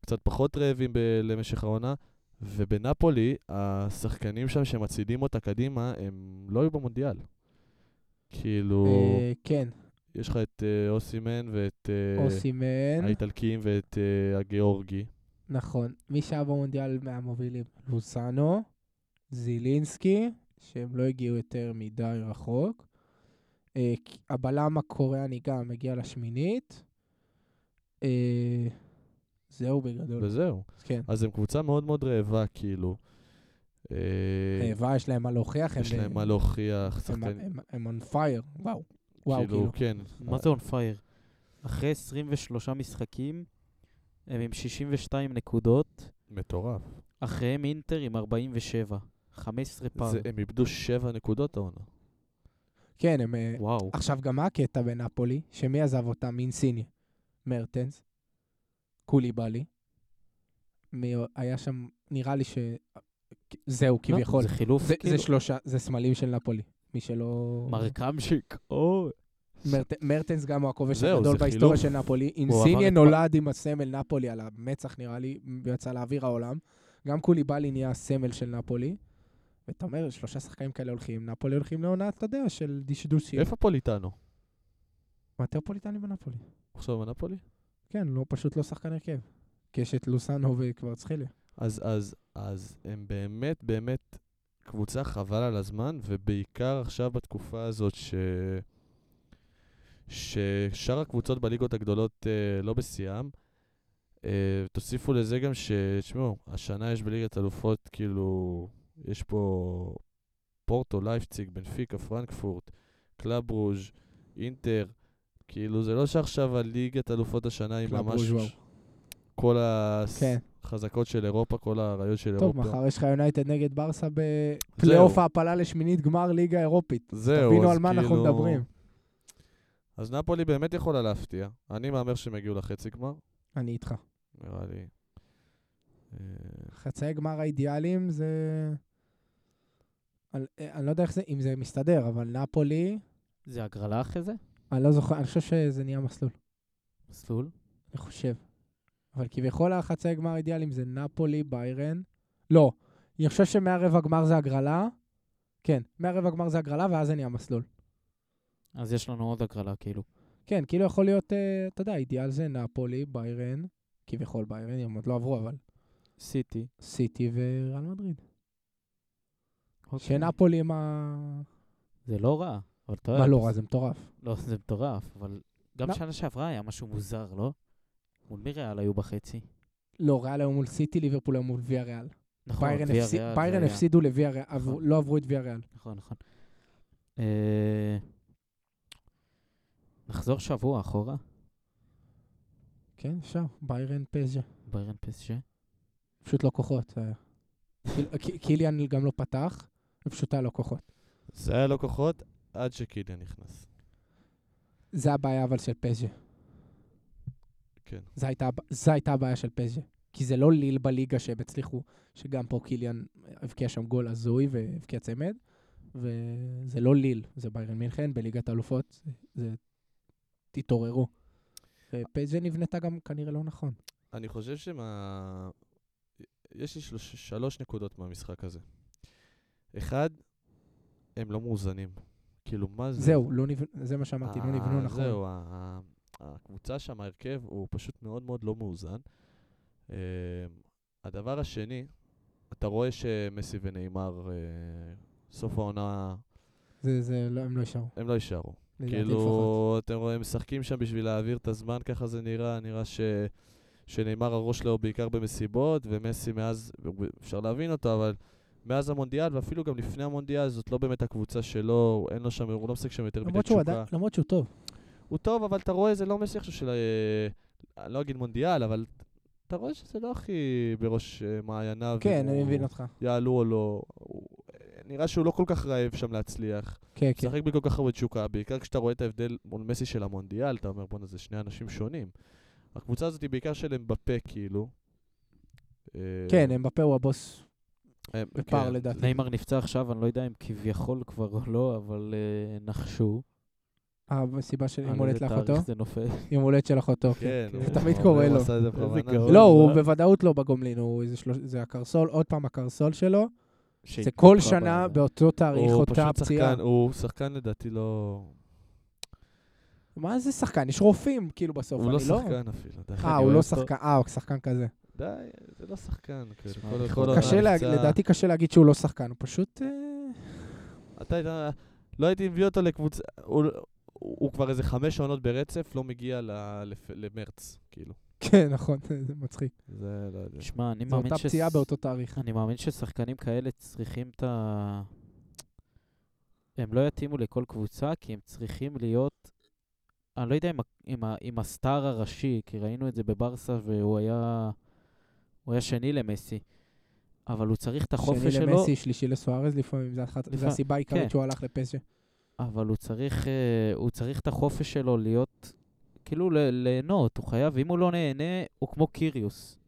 D: קצת פחות רעבים ב- למשך העונה, ובנפולי, השחקנים שם שמצעידים אותה קדימה, הם לא היו במונדיאל. כאילו,
B: אה, כן,
D: יש לך את אה, אוסימן ואת אה,
B: אוסימן,
D: האיטלקים ואת אה, הגיאורגי.
B: נכון. מי שהיה במונדיאל מהמובילים? לוזאנו, זילינסקי, שהם לא הגיעו יותר מדי רחוק. אה, ק- הבלם הקוריאני גם הגיע לשמינית. אה, זהו בגדול.
D: וזהו.
B: כן.
D: אז הם קבוצה מאוד מאוד רעבה, כאילו. אה,
B: רעבה, יש להם מה להוכיח. הם
D: יש להם
B: ב-
D: מה להוכיח, כן.
B: הם-
D: שחקנים.
B: הם- הם on fire, וואו. וואו, כאילו.
D: כן.
A: מה זה on fire? אחרי 23 משחקים, הם עם 62 נקודות,
D: מטורף.
A: אחריהם אינטר עם 47. 15 פער.
D: זה- הם איבדו שבע נקודות העונה.
B: כן, הם... אה,
A: וואו.
B: עכשיו, גם מה הקטע בנפולי? שמי עזב אותה? אינסיני. מרטנס. קוליבאלי. מי... היה שם, נראה לי ש... זהו,
A: לא,
B: כביכול.
A: זה חילוף,
B: זה,
A: כאילו.
B: זה שלושה, זה סמלים של נפולי. מי שלא...
A: מרקמשיק, או...
B: מרט... מרטנס גם הוא הכובש
D: זהו,
B: הגדול
D: זה
B: בהיסטוריה
D: חילוף.
B: של נפולי.
A: עבר
B: אינסיני
A: את פ-
B: נולד עם הסמל נפולי על המצח, נראה לי, ויצא לאוויר העולם. גם קוליבאלי נהיה הסמל של נפולי. ואתה אומר, שלושה שחקנים כאלה הולכים, נפולי הולכים לעונה, אתה יודע, של דשדושים.
D: איפה פוליטנו?
B: מטרופוליטני בנפולי.
D: עכשיו בנפולי?
B: כן, לא, פשוט לא שחקן הרכב. כי יש את לוסנו וקוורצחליה.
D: אז, אז, אז הם באמת באמת קבוצה חבל על הזמן, ובעיקר עכשיו בתקופה הזאת ש... ששאר הקבוצות בליגות הגדולות אה, לא בשיאם. אה, תוסיפו לזה גם ש... תשמעו, השנה יש בליגת אלופות, כאילו, יש פה פורטו, לייפציג, בנפיקה, פרנקפורט, קלאב רוז', אינטר. כאילו, זה לא שעכשיו הליגת אלופות השנה היא
B: קלאב
D: ממש...
B: רוז', וואו.
D: כל הס...
B: כן.
D: חזקות של אירופה, כל האריות של
B: טוב,
D: אירופה.
B: מחר יש לך יונייטד נגד ברסה בפלייאוף העפלה לשמינית גמר ליגה אירופית.
D: זהו,
B: תבינו
D: אז
B: על מה אנחנו
D: כאילו-
B: מדברים.
D: אז נפולי באמת יכולה להפתיע. אני מהמר שהם יגיעו לחצי גמר,
B: אני איתך.
D: נראה לי. אה,
B: חצאי גמר האידיאליים זה... על- אה, אני לא יודע איך זה, אם זה מסתדר, אבל נפולי,
A: זה הגרלה אחרי זה?
B: אני לא זוכר, אני חושב שזה נהיה מסלול,
A: מסלול?
B: אני חושב. אבל כביכול החצאי גמר האידיאליים זה נפולי, ביירן. לא, אני חושב שמהרבע גמר זה הגרלה. כן, מהרבע גמר זה הגרלה, ואז זה נהיה מסלול.
A: אז יש לנו עוד הגרלה, כאילו.
B: כן, כאילו יכול להיות, אה, אתה יודע, אידיאל זה נפולי, ביירן, כביכול ביירן, הם עוד לא עברו, אבל
A: סיטי.
B: סיטי וריאל מדריד.
A: אוקיי.
B: שנפולי עם ה...
A: זה לא רע. אבל אתה
B: מה לא רע, זה מטורף.
A: לא, זה מטורף, אבל גם
B: לא.
A: שנה שעברה היה משהו מוזר, לא? מול מי ריאל היו בחצי?
B: לא, ריאל היו מול סיטי, ליברפול היו מול ויה ריאל.
A: נכון,
B: ביירן
A: ויה
B: הפסיד-
A: ריאל,
B: ביירן
A: ויה-
B: הפסידו לוויה ריאל, עברו-
A: נכון.
B: לא עברו את ויה ריאל.
A: נכון, נכון. אה, נחזור שבוע אחורה,
B: כן, אפשר, ביירן פז'ה.
A: ביירן פסג'ה.
B: פשוט לא כוחות. זה היה. קיל- ק- קיליאן גם לא פתח, ופשוט היה לו כוחות.
D: זה היה לו כוחות עד שקיליאן נכנס.
B: זה הבעיה אבל של פז'ה.
D: כן.
B: זו הייתה, הב- זו הייתה הבעיה של פז'ה. כי זה לא ליל בליגה שהם הצליחו, שגם פה קיליאן הבקיע שם גול הזוי והבקיע צמד, וזה לא ליל, זה ביירן מינכן בליגת האלופות, זה- זה... תתעוררו. ופז'ה נבנתה גם כנראה לא נכון.
D: אני חושב שמה... יש לי שלוש, שלוש נקודות מהמשחק הזה. אחד, הם לא מאוזנים. כאילו, מה זה?
B: זהו, לא נבנ... זה מה שאמרתי, לא נבנו
D: ה-
B: נכון.
D: אה, זהו, ה- ה- הקבוצה שם, ההרכב, הוא פשוט מאוד מאוד לא מאוזן. אמ, הדבר השני, אתה רואה שמסי ונאמר, אה, סוף העונה,
B: זה, זה, לא, הם לא יישארו.
D: הם לא יישארו.
B: לדעתי לפחות.
D: כאילו, אתם רואים, משחקים שם בשביל להעביר את הזמן, ככה זה נראה, נראה ש... שנאמר הראש שלו בעיקר במסיבות, ומסי מאז, אפשר להבין אותו, אבל מאז המונדיאל, ואפילו גם לפני המונדיאל, זאת לא באמת הקבוצה שלו, אין לו שם, הוא לא משחק שם יותר מדי
B: למרות שהוא,
D: תשוקה.
B: עדיין, למרות שהוא טוב.
D: הוא טוב, אבל אתה רואה, זה לא מסי עכשיו של... ה- אני לא אגיד מונדיאל, אבל אתה רואה שזה לא הכי בראש אה, מעייניו.
B: כן,
D: אם
B: אני
D: הוא
B: מבין אותך.
D: יעלו או לא. הוא- נראה שהוא לא כל כך רעב שם להצליח.
B: כן, כן.
D: משחק בכל כך הרבה תשוקה, בעיקר כשאתה רואה את ההבדל מול מסי של המונדיאל, אתה אומר, בואנה, זה שני אנשים שונים. הקבוצה הזאת היא בעיקר של אמבפה, כאילו. אה,
B: כן, הם בפה הוא הבוס.
D: הם-
B: בפער
D: כן,
B: לדעתי.
A: נאמר נפצע עכשיו, אני לא יודע אם כביכול כבר או לא, אבל אה, נחשו.
B: הסיבה של יום
A: על
B: הולדת
A: איזה
B: לאחותו.
A: אה, תאריך זה נופל.
B: יום הולדת של אחותו.
D: כן,
B: כן.
D: הוא-
B: זה תמיד
D: הוא
B: קורה לו.
D: עשה את זה
A: אוקיי. איזה
D: בכוונה.
A: גאון.
B: לא, הוא
A: אבל-
B: בוודאות לא בגומלין, הוא איזה שלוש... זה הקרסול, עוד פעם הקרסול שלו. זה
A: שהתפתחה
B: כל שנה
A: בעיה.
B: באותו תאריך,
D: הוא
B: אותה
D: פשוט
B: פציעה.
D: שחקן, הוא שחקן לדעתי לא...
B: מה זה שחקן? יש רופאים, כאילו בסוף,
D: הוא
B: אני
D: לא
B: לא...
D: שחקן אפילו. די.
B: אה,
A: אני
B: הוא לא
A: אוהב אותו.
B: שחקן, אה, הוא שחקן כזה.
D: די, זה לא שחקן. כאילו,
A: תשמע,
D: כל-
A: אני
D: כל
A: חושב-
D: עונה
B: קשה, לה-
D: נפצע.
B: לדעתי קשה להגיד שהוא לא שחקן, הוא פשוט... אה,
D: אתה היית... לא הייתי מביא אותו לקבוצה... הוא- הוא כבר איזה חמש עונות ברצף, לא מגיע ל- לפ- למרץ, כאילו.
B: כן, נכון, זה מצחיק.
D: זה לא יודע.
A: שמע, אני
B: זו
A: מאמין
B: אותה
A: ש-
B: פציעה באותו תאריך.
A: אני מאמין ששחקנים כאלה צריכים את ה... הם לא יתאימו לכל קבוצה, כי הם צריכים להיות... אני לא יודע אם, ה- אם, ה- אם הסטאר הראשי, כי ראינו את זה בברסה והוא היה... הוא היה שני למסי. אבל הוא צריך את החופש שלו.
B: שני למסי, שלישי לסוארז לפעמים, זה אחת- זה
A: לפעמים,
B: הסיבה
A: כן.
B: העיקרית שהוא הלך לפסג'ה.
A: אבל הוא צריך, אה, הוא צריך את החופש שלו להיות, כאילו ל- ליהנות, הוא חייב, אם הוא לא נהנה, הוא כמו קיריוס.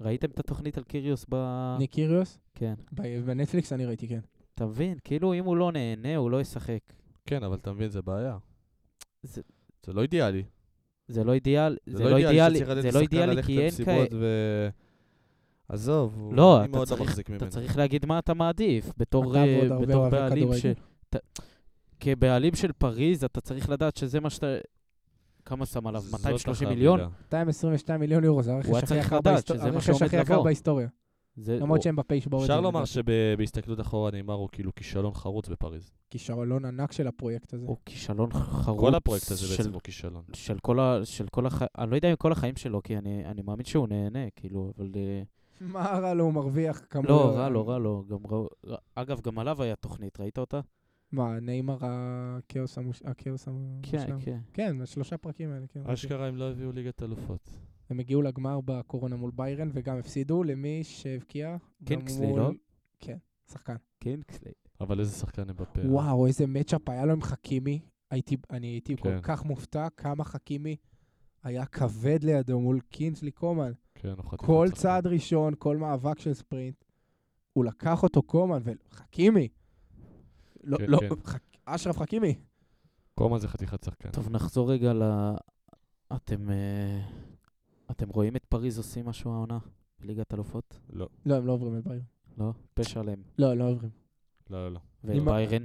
A: ראיתם את התוכנית על קיריוס ב...
B: ניק קיריוס?
A: כן.
B: ב- בנטפליקס אני ראיתי, כן.
A: אתה מבין? כאילו, אם הוא לא נהנה, הוא לא ישחק.
D: כן, אבל אתה מבין, זה בעיה.
A: זה-
D: זה לא אידיאלי.
A: זה לא אידיאל, זה לא אידיאלי,
D: שצריך לתת
A: זה לא
D: לשחקן
A: אידיאלי
D: ללכת
A: כי אין
D: למסיבות
A: כאלה...
D: ו... עזוב, הוא-
A: לא,
D: אני
A: אתה
D: מאוד לא
A: צריך-
D: מחזיק ממנו.
A: אתה צריך להגיד מה אתה מעדיף. בתור
B: אתה
A: אה,
B: ועוד הרבה
A: בתור
B: אוהבי
A: בעלים ש...
B: כדורגל.
A: אתה- כבעלים של פריז, אתה צריך לדעת שזה מה שאתה... כמה שם עליו?
D: זאת
A: 230
D: החבילה.
A: מיליון?
B: 222 מיליון יורו, זה
A: הוא
B: הרכש
A: היה
B: הכי
A: צריך
B: יקר
A: לדעת
B: בהיסטוריה.
A: שזה מה
B: הרכש
A: שעומד
B: הכי יקר
A: לבוא. אה,
B: בהיסטוריה.
A: זה-
B: למרות שהם בפה ישבור את זה.
D: אפשר לומר
B: לדעתי.
D: שבהסתכלות אחורה נאמר הוא כאילו כישלון חרוץ בפריז.
B: כישרון ענק של הפרויקט הזה.
A: הוא כישלון חרוץ
D: כל הפרויקט הזה
A: של-
D: בעצם הוא כישלון.
A: של כל ה... של כל הח... אני לא יודע אם כל החיים שלו, כי אני, אני מאמין שהוא נהנה, כאילו, אבל... אה,
B: מה רע לו, הוא מרוויח כמובן.
A: לא, רע לו, רע לו. גם רע... רע- אגב, גם עליו היה תוכנית, ראית אותה?
B: מה, נאמר הכאוס המוש- הכאוס המושלם?
A: כן, כן.
B: כן, השלושה פרקים האלה, כן.
D: אשכרה הם לא הביאו ליגת אלופות.
B: הם הגיעו לגמר בקורונה מול ביירן, וגם הפסידו למי שהבקיע.
A: קינגסלי,
B: במול-
A: לא?
B: כן, שחקן.
A: קינגסלי.
D: אבל איזה שחקן אה? הם בפה.
B: וואו, איזה מצ'אפ היה לו עם חכימי. הייתי, אני הייתי כל
D: כן.
B: כך מופתע כמה חכימי היה כבד לידו מול קינסלי קומן.
D: כן, הוא חתיכת
B: כל
D: שחקן.
B: צעד ראשון, כל מאבק של ספרינט, הוא לקח אותו קומן, וחכימי. לא,
D: כן,
B: לא,
D: כן.
B: חכ... אשרף חכימי.
D: קומן זה חתיכת שחקן.
A: טוב, נחזור רגע ל... אתם... אה, אתם רואים את פריז עושים משהו העונה? בליגת אלופות?
D: לא,
B: לא, הם לא עוברים את ביירן.
A: לא? פשע עליהם.
B: לא, הם לא עוברים.
D: לא, לא, לא.
A: ואת
B: מה-
A: ביירן?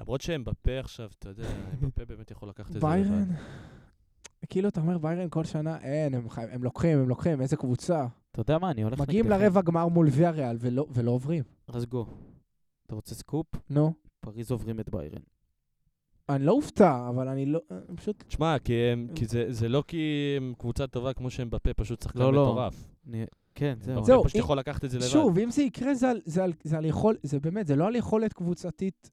D: למרות שהם בפה עכשיו, אתה יודע, הם בפה באמת יכול לקחת את זה
B: ביירן,
D: לבד.
B: כאילו, אתה אומר, ביירן כל שנה, אין, הם, חי- הם לוקחים, הם לוקחים, איזה קבוצה.
D: לא
A: אתה יודע מה, אני הולך נגדכם.
B: מגיעים לרבע גמר מול ויה ריאל ולא, ולא עוברים.
A: אז גו. אתה רוצה סקופ?
B: נו.
A: פריז עוברים את ביירן.
B: אני לא אופתע, אבל אני לא, אני פשוט
D: תשמע, כי הם, כי זה, זה לא כי הם קבוצה טובה כמו שהם בפה, פשוט שחקן
A: לא, לא.
D: מטורף.
A: אני- כן, זהו.
D: זהו,
B: זהו,
D: פשוט
B: אם-
D: יכול לקחת את זה לבד.
B: שוב, אם זה יקרה, זה על, זה על, זה על יכול... זה באמת, זה לא על יכולת קבוצתית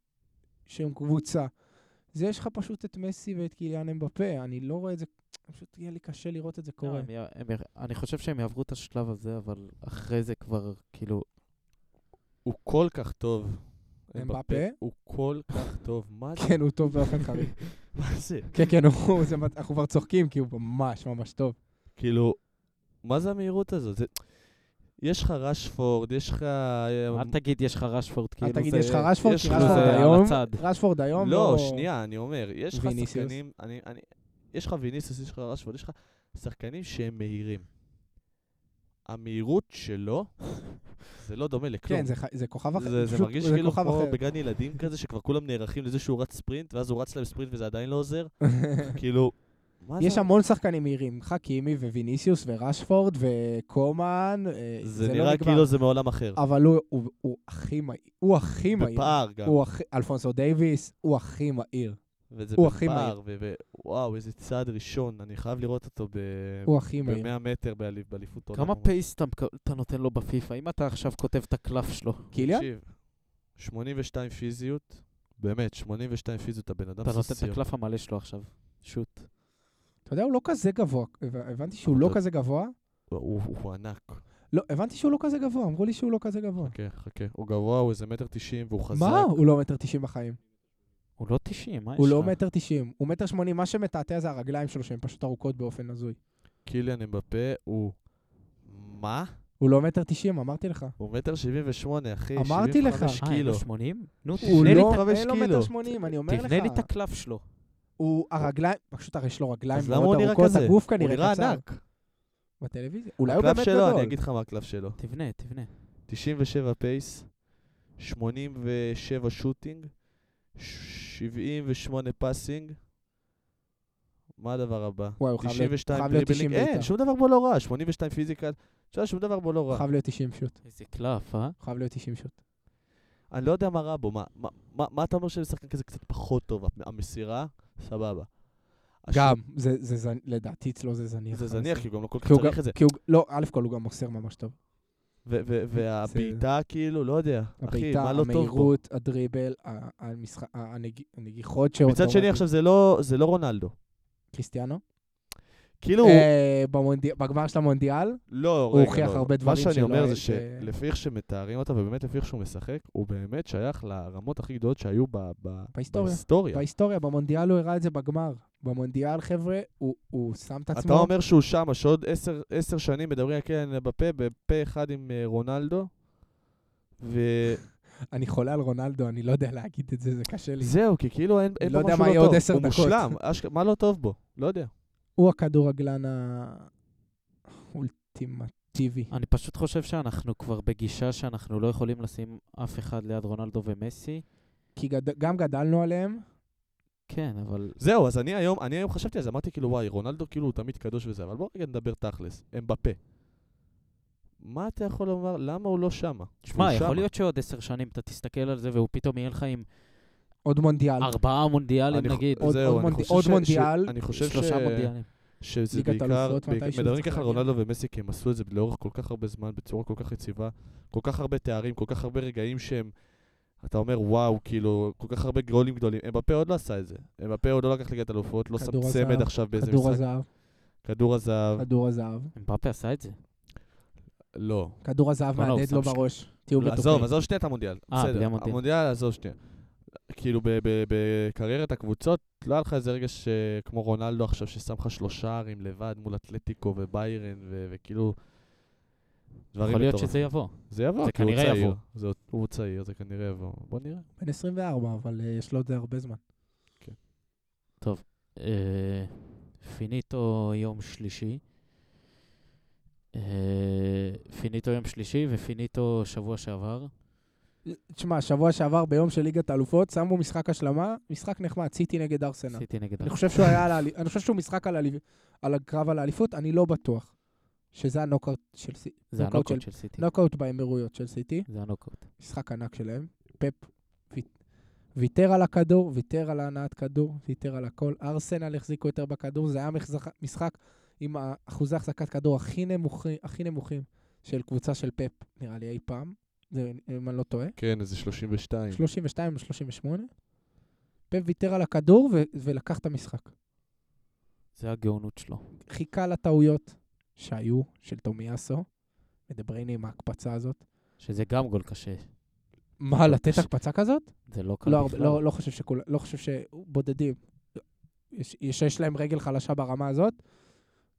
B: שהם קבוצה. זה יש לך פשוט את מסי ואת קיליאן אמבפה, אני לא רואה את זה, פשוט יהיה לי קשה לראות את זה
A: לא,
B: קורה.
A: הם יע- הם יע- אני חושב שהם יעברו את השלב הזה, אבל אחרי זה כבר, כאילו,
D: הוא כל כך טוב.
B: אמבפה?
D: הוא כל כך טוב, מה זה?
B: כן, הוא כן, טוב באופן חריג.
C: מה זה?
B: כן, כן, הוא- זה- אנחנו כבר צוחקים, כי הוא ממש ממש טוב.
D: כאילו, מה זה המהירות הזאת? זה... יש לך רשפורד, יש לך... אה,
A: אל תגיד יש לך רשפורד, כאילו
B: אל
A: זה...
B: תגיד, יש לך רשפורד?
D: יש
B: כי
D: לך-
A: כאילו,
B: רשפורד
A: זה על
B: היום,
A: הצד.
B: רשפורד היום
D: לא, שנייה, אני אומר, יש לך
B: ויניסיוס.
D: שחקנים... אני, אני, יש לך ויניסיוס, יש לך רשפורד, יש לך שחקנים שהם מהירים. המהירות שלו, זה לא דומה לכלום.
B: כן, זה ח- זה כוכב אחר.
D: זה, זה
B: פשוט-
D: מרגיש כאילו
B: כוכב
D: כמו
B: אחר.
D: בגן ילדים כזה, שכבר כולם נערכים לזה שהוא רץ ספרינט, ואז הוא רץ להם ספרינט וזה עדיין לא עוזר. כאילו, מה
B: יש
D: זה?
B: המון שחקנים מהירים, חכימי וויניסיוס ורשפורד וקומן, אה,
D: זה
B: זה לא
D: נראה
B: נגמר.
D: כאילו זה מעולם אחר.
B: אבל הוא- הוא- הוא הכי מהיר, הוא הכי מהיר.
D: בפער גם.
B: הוא הכי, אלפונסו דייוויס, הוא הכי מהיר.
D: וזה
B: הוא הכי
D: בפער, ו- ו- וואו, איזה צעד ראשון, אני חייב לראות אותו ב-
B: הוא הכי מהיר.
D: ב-100 מטר באלי- באליפות העולם.
A: כמה פייס אתה מק- אתה נותן לו בפיפא? אם אתה עכשיו כותב את הקלף שלו,
B: קיליאן?
D: תקשיב, 82 פיזיות, באמת, 82 פיזיות, הבן אדם
A: אתה נותן את
D: סוסיות.
A: הקלף המלא שלו עכשיו. שוט.
B: אתה יודע, הוא לא כזה גבוה. הב- הבנתי שהוא
D: אתה-
B: לא כזה גבוה.
D: הוא הוא- הוא ענק.
B: לא, הבנתי שהוא לא כזה גבוה, אמרו לי שהוא לא כזה גבוה.
D: חכה, חכה. הוא גבוה, הוא איזה מטר 90 והוא חזק.
B: מה? הוא לא מטר תשעים בחיים.
A: הוא לא 90, מה יש לך?
B: הוא לא מטר תשעים, הוא מטר שמונים. מה שמתעתע זה הרגליים שלו, שהן פשוט ארוכות באופן הזוי.
D: קיליאן אמבפה הוא... מה?
B: הוא לא מטר תשעים, אמרתי לך.
D: הוא מטר 78, אחי.
B: אמרתי לך.
D: 75
A: אה, אין לו
D: קילו.
A: 80? נו,
B: הוא
A: תבנה לי
B: לא,
A: את ה-
D: חמש
B: אין לו
D: קילו.
B: מטר שמונים, אני אומר לך.
A: תבנה לי את הקלף שלו.
B: הוא הרגליים, פשוט הרי יש לו רגליים
D: אז למה הוא
B: מאוד
D: נראה
B: ארוכות,
D: כזה?
B: הגוף
D: הוא
B: כנראה
D: נראה
B: קצר.
D: ענק.
B: בטלוויזיה. אולי הוא
D: הקלף
B: באמת לא
D: שלו, אני
B: גדול.
D: אגיד לך מה הקלף שלו.
A: תבנה, תבנה.
D: 97 פייס, 87 שוטינג, 78 פאסינג. מה הדבר הבא?
B: וואי, הוא חייב להיות-
D: 92
B: חייב להיות 90
D: דריבלינג. אין,
B: בעיטה.
D: שום דבר בו לא רע. 82 פיזיקל. תשמע, שום דבר בו לא רע.
B: חייב להיות 90 שוט.
A: איזה קלף, אה?
B: חייב להיות 90 שוט.
D: אני לא יודע מה רע בו. מה- מה- מה מה אתה אומר ששחקן כזה קצת פחות טוב? המסירה, סבבה. השוט-
B: גם, זה, זה זנ... לדעתי אצלו זה זניח.
D: זה
B: אבל
D: זניח, כי הוא גם לא כל כך
B: כי הוא
D: צריך
B: גם-
D: את זה.
B: כי הוא... לא, א' כל הוא גם מוסר ממש טוב.
D: ו- ו- והבעיטה, כאילו, לא יודע. אחי,
B: הבעיטה,
D: מה לא טוב בו?
B: המהירות, הדריבל, ה- המשחק- ה- הנג- הנגיחות שהוא...
D: מצד שני, עכשיו זה לא- זה לא רונלדו.
B: קריסטיאנו?
D: כאילו,
B: אה, במונדיאל- בגמר של המונדיאל?
D: לא,
B: הוא
D: רגע,
B: הוכיח
D: לא.
B: הרבה דברים
D: מה שאני
B: שלא
D: אומר זה
B: היית-
D: שלפי איך שמתארים אותו, ובאמת לפי איך שהוא משחק, הוא באמת שייך לרמות הכי גדולות שהיו ב- ב-
B: בהיסטוריה.
D: בהיסטוריה.
B: בהיסטוריה, במונדיאל הוא הראה את זה בגמר. במונדיאל, חבר'ה, הוא, הוא שם את
D: אתה
B: עצמו.
D: אומר שהוא שמה, שעוד עשר- עשר שנים מדברים על קרן בפה, בפה אחד עם אה, רונלדו, וזהו,
B: אני חולה על רונלדו, אני לא יודע להגיד את זה, זה קשה לי.
D: כי כאילו אין
B: אני
D: אין
B: לא
D: פה
B: יודע
D: משהו
B: מה יהיה
D: לא
B: עוד
D: טוב.
B: עשר
D: הוא
B: דקות.
D: מושלם, אשכ- מה לא טוב בו? לא יודע.
B: הוא הכדורגלן האולטימטיבי.
A: אני פשוט חושב שאנחנו כבר בגישה שאנחנו לא יכולים לשים אף אחד ליד רונלדו ומסי.
B: כי גד... גם גדלנו עליהם,
A: כן, אבל...
D: זהו, אז אני היום, אני היום חשבתי על זה, אמרתי כאילו, וואי, רונלדו כאילו הוא תמיד קדוש וזה, אבל בוא רגע נדבר תכלס, הם בפה. מה אתה יכול לומר, למה הוא לא שמה?
A: שמע,
D: הוא
A: יכול
D: שמה.
A: להיות שעוד עשר שנים אתה תסתכל על זה והוא פתאום יהיה לך עם
B: עוד מונדיאל.
A: ארבעה מונדיאלים
D: אני חו-
A: נגיד.
B: עוד-
D: זהו,
B: עוד
D: אני
B: מונד-
D: חושב
B: עוד
D: ש- ש-
B: מונדיאל,
D: אני חושב
A: שלושה
D: ש-
A: מונדיאלים.
D: שזה
B: ליגת
D: בעיקר,
B: האלופות מתישהו זה
D: מדברים
B: צריך
D: ככה על
B: להגיע.
D: רונלדו ומסי, כי הם עשו את זה לאורך כל כך הרבה זמן, בצורה כל כך יציבה, כל כך הרבה תארים, כל כך הרבה רגעים שהם, אתה אומר, וואו, כאילו, כל כך הרבה גולים גדולים. אמבפה עוד לא עשה את זה. אמבפה עוד לא לקח ליגת אלופות, לא שם
B: כדור
D: צמד
B: הזהב,
D: עכשיו באיזה
B: כדור
D: משחק.
B: הזהב,
D: כדור הזהב.
B: כדור הזהב.
A: אמבפה עשה את זה.
D: לא.
B: כדור הזהב
A: לא, לא, הוא
B: מהדהד
A: שם
B: לו
A: ש-
B: בראש. תהיו
A: לא,
B: בטוחים.
D: עזוב, עזוב שנייה את המונדיאל.
A: אה, בלי
D: בסדר.
A: המונדיאל.
D: המונדיאל, עזוב שנייה. כאילו, ב- ב- בקריירת הקבוצות, לא היה לך איזה רגע ש- כמו רונלדו עכשיו, ששם לך שלושה ערים לבד מול אטלטיקו וביירן, ו- וכאילו... דברים
A: יכול להיות
D: מטורפים.
A: שזה יבוא.
D: זה יבוא,
A: זה
D: כי הוא
A: כנראה
D: צעיר.
A: יבוא.
D: זה, הוא צעיר, זה כנראה יבוא. בוא נראה.
B: בן 24, אבל אה, יש לו עוד הרבה זמן.
A: אה, פיניטו יום שלישי. אה, פיניטו יום שלישי ופיניטו שבוע שעבר.
B: תשמע, שבוע שעבר ביום של ליגת האלופות, שמו משחק השלמה, משחק נחמד, סיטי נגד ארסנל.
A: עשיתי נגד...
B: אני חושב שהוא היה על האליפות, אני חושב שהוא משחק על האליפ- על הקרב על האליפות, אני לא בטוח. שזה הנוקאוט של סיטי.
A: זה
B: נוקאוט
A: הנוקאוט של סיטי.
B: נוקאוט באמירויות של סיטי,
A: זה הנוקאוט.
B: משחק ענק שלהם. פפ ויט- ויתר על הכדור, ויתר על ההנעת כדור, ויתר על הכל. ארסנל החזיקו יותר בכדור, זה היה מחזק- משחק עם אחוזי החזקת כדור הכי נמוכים, הכי נמוכים של קבוצה של פפ, נראה לי, אי פעם. זה, אם אני לא טועה.
D: כן, איזה 32.
B: 32 או 38. פפ ויתר על הכדור ו- ולקח את המשחק.
A: זה הגאונות שלו.
B: חיכה לטעויות שהיו של טומיאסו, מדבריינה עם ההקפצה הזאת.
A: שזה גם גול קשה.
B: מה, לתת
A: קשה.
B: הקפצה כזאת?
A: זה לא קל
B: לא, הרבה-
A: בכלל.
B: לא, לא חושב שכולם, לא חושב שבודדים. יש- שיש להם רגל חלשה ברמה הזאת,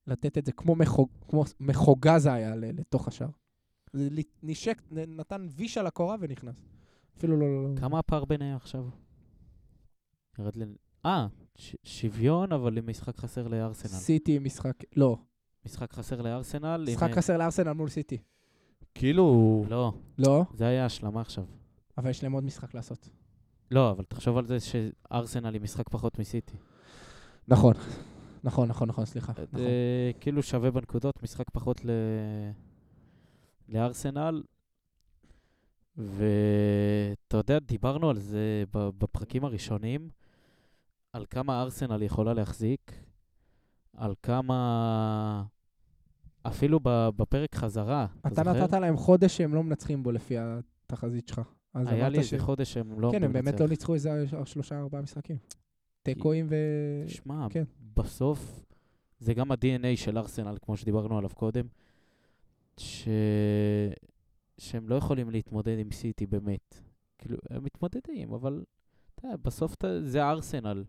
B: לתת את זה כמו, מחוג, כמו מחוגה זה היה ל- לתוך השער. זה ל- נישק, נ- נתן ויש על הקורה ונכנס. אפילו לא... לא, לא.
A: כמה הפער ביניהם עכשיו? ירד ל... אה, ש- שוויון, אבל עם משחק חסר לארסנל.
B: סיטי משחק, לא,
A: משחק חסר לארסנל. עם-
B: משחק חסר לארסנל מול סיטי.
D: כאילו,
A: לא,
B: לא,
A: זה היה השלמה עכשיו.
B: אבל יש להם עוד משחק לעשות.
A: לא, אבל תחשוב על זה שארסנל היא משחק פחות מסיטי.
B: נכון. נכון, נכון, נכון, סליחה.
A: זה
B: נכון.
A: כאילו שווה בנקודות, משחק פחות ל... לארסנל. ואתה יודע, דיברנו על זה ב- בפרקים הראשונים, על כמה ארסנל יכולה להחזיק, על כמה... אפילו ב- בפרק חזרה, אתה
B: אתה
A: זוכר?
B: נתת להם חודש שהם לא מנצחים בו לפי התחזית שלך. אז
A: היה
B: אמרת
A: לי
B: ש-
A: איזה חודש שהם לא...
B: כן, הם
A: אמורים
B: באמת
A: לנצח.
B: לא ניצחו איזה שלושה, ארבעה משחקים. תיקואים ו...
A: שמע,
B: כן.
A: בסוף זה גם ה-DNA של ארסנל, כמו שדיברנו עליו קודם, ש... שהם לא יכולים להתמודד עם סיטי באמת. כאילו, הם מתמודדים, אבל אתה יודע, בסוף אתה... זה ארסנל.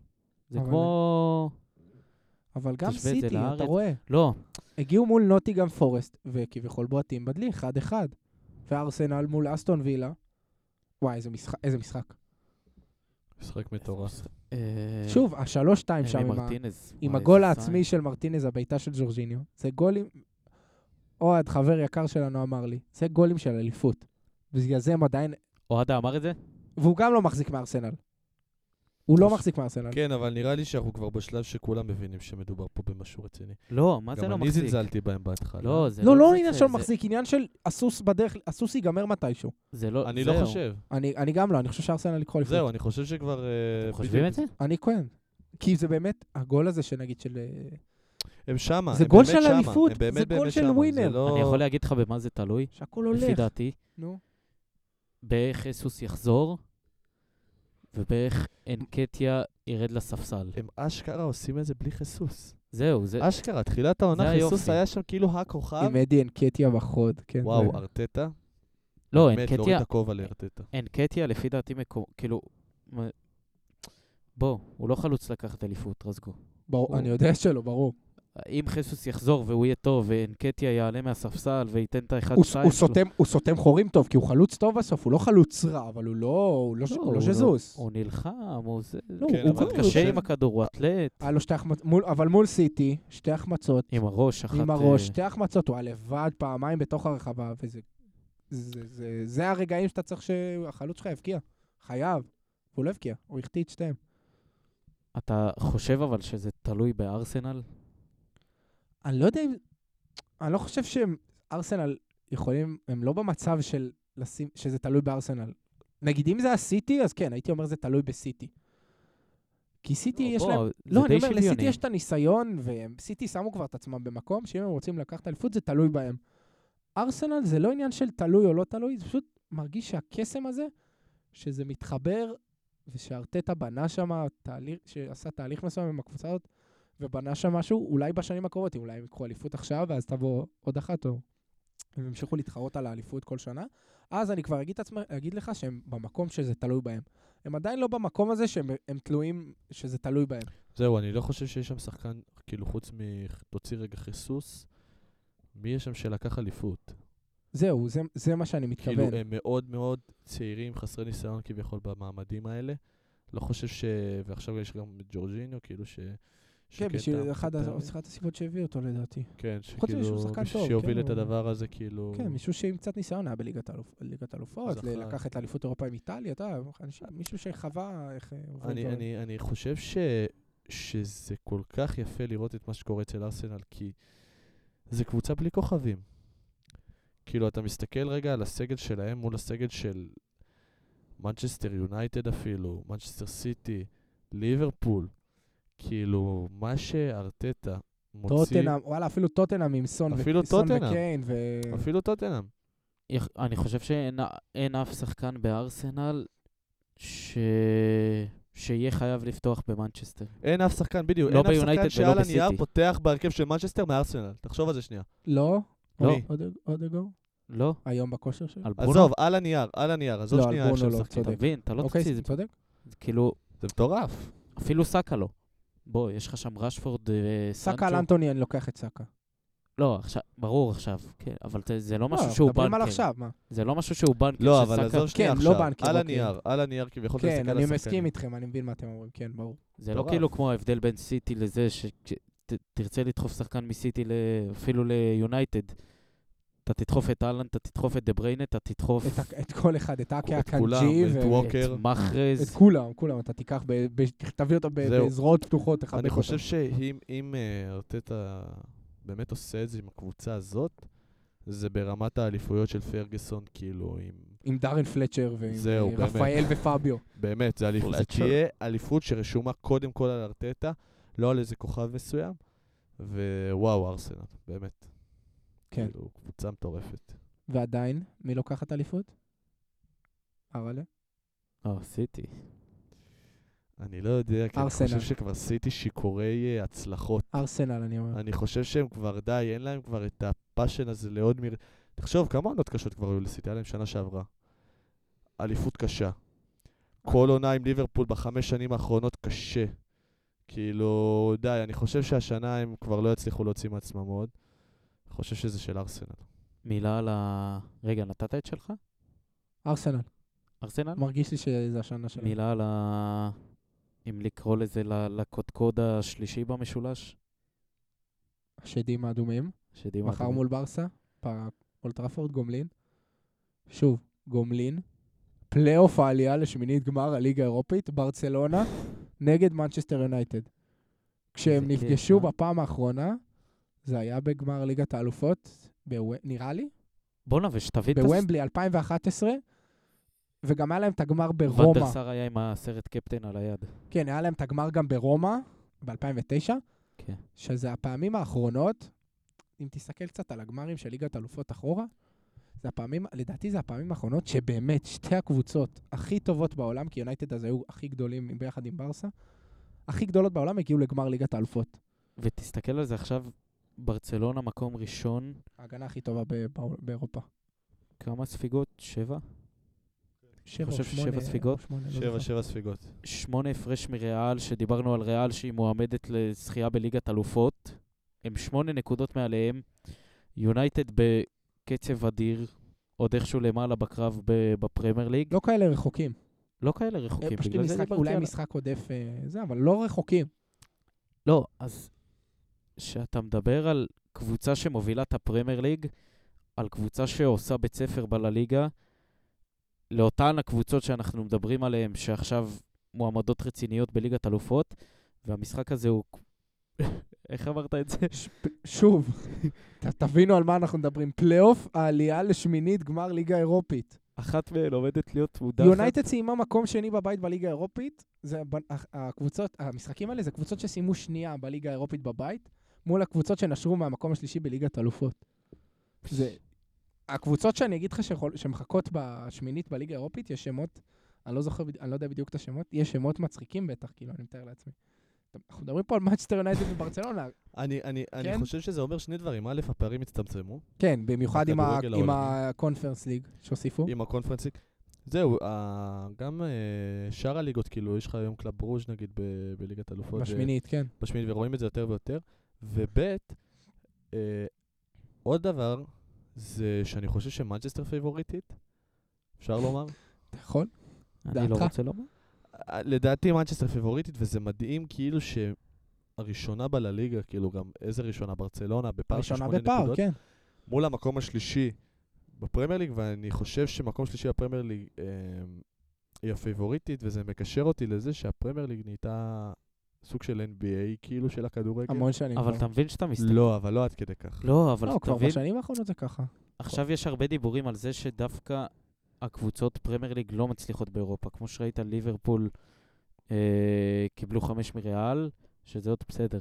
A: זה
B: אבל-
A: כמו...
B: אבל
A: תשווה
B: גם
A: את זה
B: סיטי,
A: לארץ.
B: אתה רואה.
A: לא,
B: הגיעו מול נוטיגם פורסט, וכביכול בועטים בדלי, 1-1. וארסנל מול אסטון וילה. וואי, איזה משחק. איזה משחק.
D: משחק מטורף.
A: אה,
B: שוב, השלוש-שתיים
A: אלי
B: שם עם ה-
A: מרטינז,
B: עם
A: וואי,
B: הגול
A: איזה
B: העצמי
A: סיין.
B: של מרטינז, הבעיטה של ג'ורג'יניו. זה גולים... אוהד, חבר יקר שלנו, אמר לי, זה גולים של אליפות. בגלל זה הם עדיין...
A: אוהדה אמר את זה?
B: והוא גם לא מחזיק מארסנל. הוא לא
D: אז-
B: מחזיק מארסנל.
D: כן, אבל נראה לי שאנחנו כבר בשלב שכולם מבינים שמדובר פה במשהו רציני.
A: לא, מה זה
D: גם
A: לא
D: אני
A: מחזיק?
D: זלזלתי בהם בהתחלה.
A: לא, זה
B: לא, לא
A: זה-
B: עניין
A: זה-
B: של
A: זה-
B: מחזיק, עניין של הסוס בדרך, הסוס ייגמר מתישהו.
A: זה לא...
D: אני לא
A: זהו.
D: חושב.
B: אני אני גם לא, אני חושב שארסנל יקחו אליפות.
D: זהו, אני חושב שכבר... אה,
A: אתם חושבים
D: בדיוק-
A: את זה?
B: אני כהן. כי זה באמת, הגול הזה שנגיד של... אה,
D: הם שמה,
B: זה
D: הם
B: גול
D: באמת
B: של
D: שמה,
B: אליפות,
D: הם באמת
B: זה גול
D: באמת
B: של
D: שמה, זה
B: ווינר.
D: לא-
A: אני יכול להגיד לך במה זה תלוי,
B: שהכול
A: לפי
B: הולך.
A: דעתי.
B: נו.
A: באיך הסוס יחזור, ובאיך אנקטיה ירד לספסל.
D: הם אשכרה עושים את זה בלי חיסוס.
A: זהו,
B: אה,
A: זה...
D: אשכרה, תחילת העונה
A: זה
D: חיסוס
A: היופי.
D: היה שם כאילו הכוכב.
B: עם אדי אנקטיה בחוד, כן.
D: וואו,
B: זה-
D: ארטטה.
A: לא,
D: באמת, להוריד
A: אנקטיה,
D: את הכובע לארטטה.
A: אנקטיה לפי דעתי מקום... כאילו... מ- בוא, הוא לא חלוץ לקחת אליפות, רזגו.
B: ברור, אני יודע שלא, ברור.
A: אם חיסוס יחזור והוא יהיה טוב, ואנקטיה יעלה מהספסל וייתן את האחד,
B: הוא-
A: שתיים...
B: הוא
A: שלו-
B: סותם- הוא סותם חורים טוב, כי הוא חלוץ טוב בסוף, הוא לא חלוץ רע, אבל הוא לא הוא לא ש-
A: לא,
B: הוא לא
A: הוא לא-
B: זזוס.
A: הוא נלחם, הוא זה...
B: לא, אה,
D: כן,
B: הוא
D: אבל
B: גם-
A: קשה
D: הוא-
A: עם הכדור, הוא אתלט,
B: היה לו שתי החמצות, מול- אבל מול סיטי, שתי החמצות.
A: עם הראש, אחת...
B: עם הראש,
A: אה,
B: שתי החמצות, הוא היה לבד פעמיים בתוך הרחבה, וזה... זה, זה, זה הרגעים שאתה צריך שהחלוץ שלך יבקיע. חייב. והוא לא הבקיע, הוא החטיא את שתיהם.
A: אתה חושב אבל שזה תלוי בארסנל?
B: אני לא יודע אם... אני לא חושב שהם... ארסנל יכולים... הם לא במצב של לשים... שזה תלוי בארסנל. נגיד, אם זה הסיטי, אז כן, הייתי אומר זה תלוי בסיטי. כי סיטי יש
A: בוא,
B: להם...
A: זה
B: לא, אני
A: די
B: אומר, לסיטי
A: שוויוני.
B: יש את הניסיון, וסיטי שמו כבר את עצמם במקום, שאם הם רוצים לקחת אליפות, זה תלוי בהם. ארסנל זה לא עניין של תלוי או לא תלוי, זה פשוט מרגיש שהקסם הזה, שזה מתחבר, ושארטטה בנה שם תהליך, שעשה תהליך מסוים עם הקבוצה הזאת, ובנה שם משהו, אולי בשנים הקרובות, אם אולי הם יקחו אליפות עכשיו, ואז תבוא עוד אחת, או הם ימשיכו להתחרות על האליפות כל שנה, אז אני כבר אגיד, עצמי, אגיד לך שהם במקום שזה תלוי בהם. הם עדיין לא במקום הזה שהם הם תלויים, שזה תלוי בהם.
D: זהו, אני לא חושב שיש שם שחקן, כאילו, חוץ מ... תוציא רגע חיסוס. מי יש שם שלקח אליפות?
B: זהו, זה, זה מה שאני מתכוון.
D: כאילו, הם מאוד מאוד צעירים, חסרי ניסיון כביכול במעמדים האלה. לא חושב ש... ועכשיו יש גם את ג'ורג'יניו, כאילו ש...
B: כן,
D: שכן
B: בשביל
D: טעם
B: אחת
D: קטן.
B: ה- אחת הסיבות שהביא אותו לדעתי.
D: כן,
B: חוץ מזה שהוא
D: שכאילו,
B: שחקן
D: מישהו
B: טוב,
D: שיוביל
B: כן,
D: את
B: הוא-
D: הדבר הזה, כאילו...
B: כן, מישהו שעם קצת ניסיון היה בליגת האלופ- ליגת האלופות,
D: זכה.
B: לקח את אליפות אירופה עם איטליה, אתה יודע, אנש- מישהו שחווה איך... אה, עוברים
D: אני,
B: דברים.
D: אני, אני חושב ש, שזה כל כך יפה לראות את מה שקורה אצל ארסנל, כי זה קבוצה בלי כוכבים. כאילו, אתה מסתכל רגע על הסגל שלהם מול הסגל של מנצ'סטר יונייטד אפילו, מנצ'סטר סיטי, ליברפול. כאילו, מה שארטטה מוציא,
B: טוטנאם, כן. וואלה, אפילו טוטנאם עם סון ו-
D: אפילו
B: סון
D: טוטנהאם.
B: וקיין, ו...
D: אפילו טוטנאם.
A: יכ- אני חושב שאין אין אף שחקן בארסנל ש... שיהיה חייב לפתוח במנצ'סטר.
D: אין אף שחקן, בדיוק,
A: לא
D: אין אף
A: ביונייטד
D: שחקן
A: ולא
D: שעל הנייר
A: בסיטי.
D: פותח בהרכב של מנצ'סטר מארסנל. תחשוב על זה שנייה.
B: לא?
A: לא.
B: מי? עוד- עוד אגו?
A: לא?
B: היום בכושר שלו?
A: על ברונו?
D: עזוב, על הנייר, על הנייר, עזוב
B: לא, על
D: שנייה איך
B: ברונו
D: שהם
B: לא,
D: משחקים.
A: אתה
B: צודק.
A: מבין, אתה לא
B: אוקיי,
A: תוציא את זה.
B: צודק.
A: זה כאילו,
D: זה מטורף.
A: אפילו סאקה לא. בוא, יש לך שם רשפורד, אה,
B: סאקה על
A: סנצ'ו.
B: אנטוני אני לוקח את סאקה.
A: לא, עכשיו, ברור עכשיו, כן, אבל זה- זה לא
B: לא,
A: משהו שהוא
B: מדברים על
A: בנקר.
B: עכשיו, מה?
A: זה לא משהו שהוא בנקר.
D: לא, אבל
A: שסאקה-
D: עזוב שנייה
B: כן,
D: עכשיו.
B: לא בנקר,
D: על
B: אוקיי.
D: הנייר, על הנייר כביכול. אתה
B: כן,
D: מסתכל על
B: אני
D: השחקנים.
B: מסכים איתכם, אני מבין מה אתם אומרים, כן, ברור.
A: זה לא
D: מטורף.
A: כאילו כמו ההבדל בין סיטי לזה, שתרצה לדחוף שחקן מסיטי ל- אפילו ליונייטד. אתה תדחוף את אהלן, אתה תדחוף את דה בריינה, אתה תדחוף
B: את ה- את כל אחד, את אקי
D: את כולם,
B: הקנג'י,
D: את
B: ו-
D: ווק.
A: את
D: ווקר.
B: את
A: מחרז.
B: כולם, כולם, אתה תיקח, ב- ב- תביא אותם ב-
D: זהו.
B: בזרועות פתוחות, אחד
D: אני חושב שאם אם, אה, ארטטה באמת עושה את זה עם הקבוצה הזאת, זה ברמת האליפויות של פרגוסון, כאילו, עם...
B: עם דארן פלצ'ר ועם
D: זהו,
B: אה,
D: באמת.
B: רפאל ופביו.
D: באמת, זה אליפות. זה
A: פלצ'ר.
D: תהיה אליפות שרשומה קודם כל על ארטטה, לא על איזה כוכב מסוים. ווואו, ארסנל, באמת.
B: כן.
D: כאילו, קבוצה מטורפת.
B: ועדיין, מי לוקחת אליפות? אראלה?
A: אה, סיטי.
D: אני לא יודע, כי אני
B: ארסנל.
D: חושב שכבר סיטי שיכורי אה, הצלחות.
B: ארסנל, אני אומר.
D: אני חושב שהם כבר, די, אין להם כבר את הפאשן הזה לעוד מיר... תחשוב, כמה עונות קשות כבר היו לסיטי? היה להם שנה שעברה. אליפות קשה.
B: אה.
D: כל עונה עם ליברפול בחמש שנים האחרונות קשה. כאילו, די, אני חושב שהשנה הם כבר לא יצליחו להוציא מעצמם עוד. אני חושב שזה של ארסנל.
A: מילה על ה... רגע, נתת את שלך?
B: ארסנל.
A: ארסנל?
B: מרגיש לי שזה השנה שלנו.
A: מילה על ה... אם לקרוא לזה ל- לקודקוד השלישי במשולש,
D: לא-
B: השדים האדומים.
A: שדימה...
B: מחר מול ברסה, באולטראפורד גומלין. שוב, גומלין. פלייאוף העלייה לשמינית גמר הליגה האירופית, ברצלונה נגד מנצ'סטר יונייטד. כשהם
A: איזה כיף, אה?
B: נפגשו
A: מה?
B: בפעם האחרונה, זה היה בגמר ליגת האלופות, בוו- נראה לי,
A: בואנה, ושתביא את... הס-
B: בוומבלי 2011, וגם היה להם את הגמר
A: ואן דר
B: ברומא.
A: סאר היה עם הסרט קפטן על היד.
B: כן, היה להם את הגמר גם ברומא, ב-2009,
A: כן.
B: שזה הפעמים האחרונות, אם תסתכל קצת על הגמרים של ליגת אלופות אחורה, זה הפעמים, לדעתי זה הפעמים האחרונות שבאמת שתי הקבוצות הכי טובות בעולם, כי יונייטד אז היו הכי גדולים ביחד עם ברסה, הכי גדולות בעולם הגיעו לגמר ליגת האלופות.
A: ותסתכל על זה עכשיו, ברצלונה מקום ראשון,
B: ההגנה הכי טובה ב- בא- באירופה.
A: כמה ספיגות? שבע?
B: שבע
A: חושב
B: או שמונה,
A: ששבע
B: או
A: ספיגות?
B: שמונה, לא
D: שבע,
B: זוכר.
D: שבע ספיגות.
A: שמונה הפרש מריאל, שדיברנו על ריאל שהיא מועמדת לזכייה בליגת אלופות. הם שמונה נקודות מעליהם. יונייטד בקצב אדיר, עוד איכשהו למעלה בקרב ב- בפרמייר ליג. לא,
B: לא כאלה רחוקים.
A: כאלה
B: הם
A: רחוקים,
B: אה, פשוט
A: אוקיי, בגלל זה
B: משחק-
A: דיברתי
B: אולי
A: על...
B: משחק עודף אה, זה, אבל לא רחוקים.
A: לא, אז כשאתה מדבר על קבוצה שמובילה את הפרמייר ליג, על קבוצה שעושה בית ספר בלליגה, לאותן הקבוצות שאנחנו מדברים עליהן, שעכשיו מועמדות רציניות בליגת אלופות, והמשחק הזה הוא... איך אמרת את זה?
B: שוב, ת- תבינו על מה אנחנו מדברים. פלייאוף העלייה לשמינית גמר ליגה אירופית.
A: אחת מהן עומדת להיות מודחת.
B: יונייטד סיימה מקום שני בבית בליגה האירופית. זה ב- הח- הקבוצות, המשחקים האלה זה קבוצות שסיימו שנייה בליגה האירופית בבית, מול הקבוצות שנשרו מהמקום השלישי בליגת אלופות. זה... הקבוצות שאני אגיד לך שיכול- שמחכות בשמינית בליגה האירופית, יש שמות, אני לא זוכר, בד- אני לא יודע בדיוק את השמות, יש שמות מצחיקים בטח, כאילו, אני מתאר לעצמי. טוב, אנחנו מדברים פה על מצ'סטר יונייטד וברצלונה.
D: אני, אני, אני
B: כן?
D: חושב שזה אומר שני דברים. א', הפערים הצטמצמו
B: כן, במיוחד עם ה-
D: הכדורגל
B: עם
D: העולמי.
B: הקונפרנס ליג שהוסיפו.
D: עם הקונפרנסים. זהו, ה- גם אה, שאר הליגות, כאילו, יש לך היום קלאב ברוז' נגיד ב- בליגת אלופות. אה,
B: בשמינית, כן.
D: בשמינית, ורואים את זה יותר ויותר. וב', אה, עוד דבר, זה שאני חושב שמנצ'סטר פייבוריטית, אפשר לומר.
B: אתה יכול?
A: אני לא
B: דעתך?
A: רוצה לומר.
D: אה, לדעתי מנצ'סטר פייבוריטית, וזה מדהים כאילו שהראשונה בה לליגה, כאילו גם איזה ראשונה? ברצלונה, בפער של
B: ראשונה
D: שמונה נקודות.
B: בפער, כן.
D: מול המקום השלישי בפרמייר ליג, ואני חושב שמקום שלישי בפרמייר ליג אה, היא הפייבוריטית, וזה מקשר אותי לזה שהפרמייר ליג נהייתה סוג של NBA כאילו של הכדורגל.
B: המון שנים.
A: אבל
B: כן, כבר.
A: אתה מבין שאתה מסתכל...
D: לא, אבל לא עד כדי כך.
A: לא, אבל
B: לא,
A: אתה
B: כבר
A: מבין...
B: בשנים האחרונות זה ככה.
A: עכשיו יש הרבה דיבורים על זה שדווקא הקבוצות פרמייר ליג לא מצליחות באירופה. כמו שראית, ליברפול אה, קיבלו חמש מריאל, שזה עוד בסדר.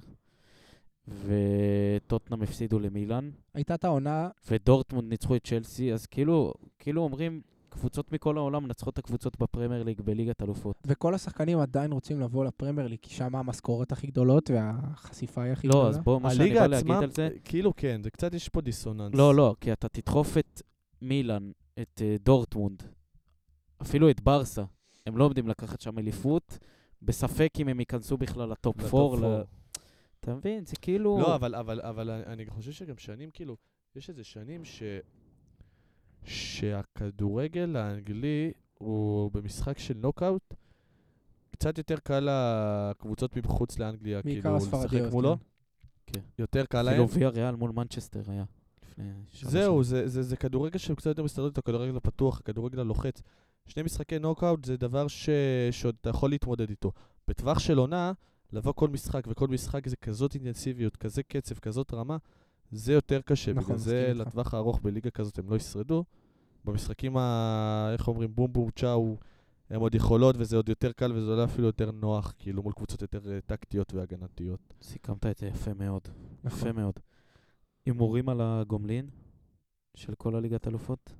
A: וטוטנאם הפסידו למילאן,
B: הייתה את העונה,
A: ודורטמונד ניצחו את צ'לסי, אז כאילו, כאילו אומרים, קבוצות מכל העולם מנצחות את הקבוצות בפרמייר ליג בליגת אלופות.
B: וכל השחקנים עדיין רוצים לבוא לפרמייר ליג, כי שם המשכורות הכי גדולות והחשיפה היא הכי גדולה.
A: לא, אז בוא, מה שאני
D: הליגה
A: בא להגיד
D: עצמה,
A: על זה...
D: אה, כאילו כן, זה קצת, יש פה דיסוננס.
A: לא, לא, כי אתה תדחוף את מילאן, את אה, דורטמונד, אפילו את ברסה. הם לא עומדים לקחת שם אליפות. בספק אם הם ייכנסו בכלל לטופ 4. אתה מבין? זה כאילו...
D: לא, אבל, אבל, אבל אני חושב שגם שנים, כאילו, יש איזה שנים ש... שהכדורגל האנגלי הוא במשחק של נוקאוט, קצת יותר קל לקבוצות מחוץ לאנגליה,
B: בעיקר
D: כאילו, לשחק
B: הספרדיות.
D: מולו.
B: כן.
D: יותר קל להם.
A: אפילו ויה ריאל מול מנצ'סטר היה. לפני שלוש שנים.
D: זהו, זה, זה, זה כדורגל שהוא קצת יותר מסתדר, הכדורגל הפתוח, הכדורגל הלוחץ. שני משחקי נוקאוט זה דבר ש... שעוד אתה יכול להתמודד איתו. בטווח של עונה, לבוא כל משחק, וכל משחק זה כזאת אינטנסיביות, כזה קצב, כזאת רמה, זה יותר קשה.
B: נכון,
D: בגלל זה
B: מסכים איתך.
D: לטווח הארוך בליגה כזאת הם לא ישרדו. במשחקים ה... איך אומרים? בום בום צ'או, הם עוד יכולות, וזה עוד יותר קל, וזה עולה אפילו יותר נוח, כאילו, מול קבוצות יותר אה, טקטיות והגנתיות.
A: סיכמת את זה יפה מאוד.
B: נכון.
A: יפה מאוד. הימורים על הגומלין של כל הליגת אלופות?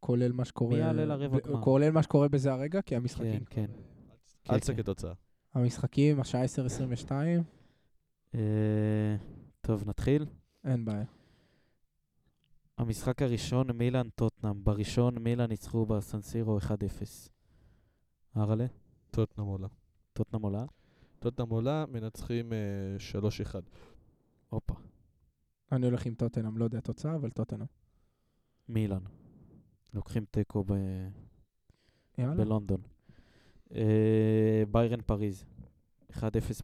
B: כולל מה שקורה...
A: מי יעלה לרבע
B: ב-
A: גמר?
B: כולל מה שקורה בזה הרגע, כי
A: כן,
B: המשחקים...
A: כן.
D: אל
A: כן,
D: תסתכל תוצאה.
B: המשחקים, השעה 10:22,
A: אה, טוב, נתחיל.
B: אין בעיה.
A: המשחק הראשון, מילאן טוטנאם. בראשון מילאן ניצחו בסנסירו 1-0. ארלה?
D: טוטנאם עולה.
A: טוטנאם עולה?
D: טוטנאם עולה, מנצחים אה, 3-1.
A: הופה.
B: אני הולך עם טוטנאם, לא יודע תוצאה, אבל טוטנאם.
A: מילאן. לוקחים תיקו ב...
B: יאללה.
A: בלונדון. אה, ביירן פריז. 1-0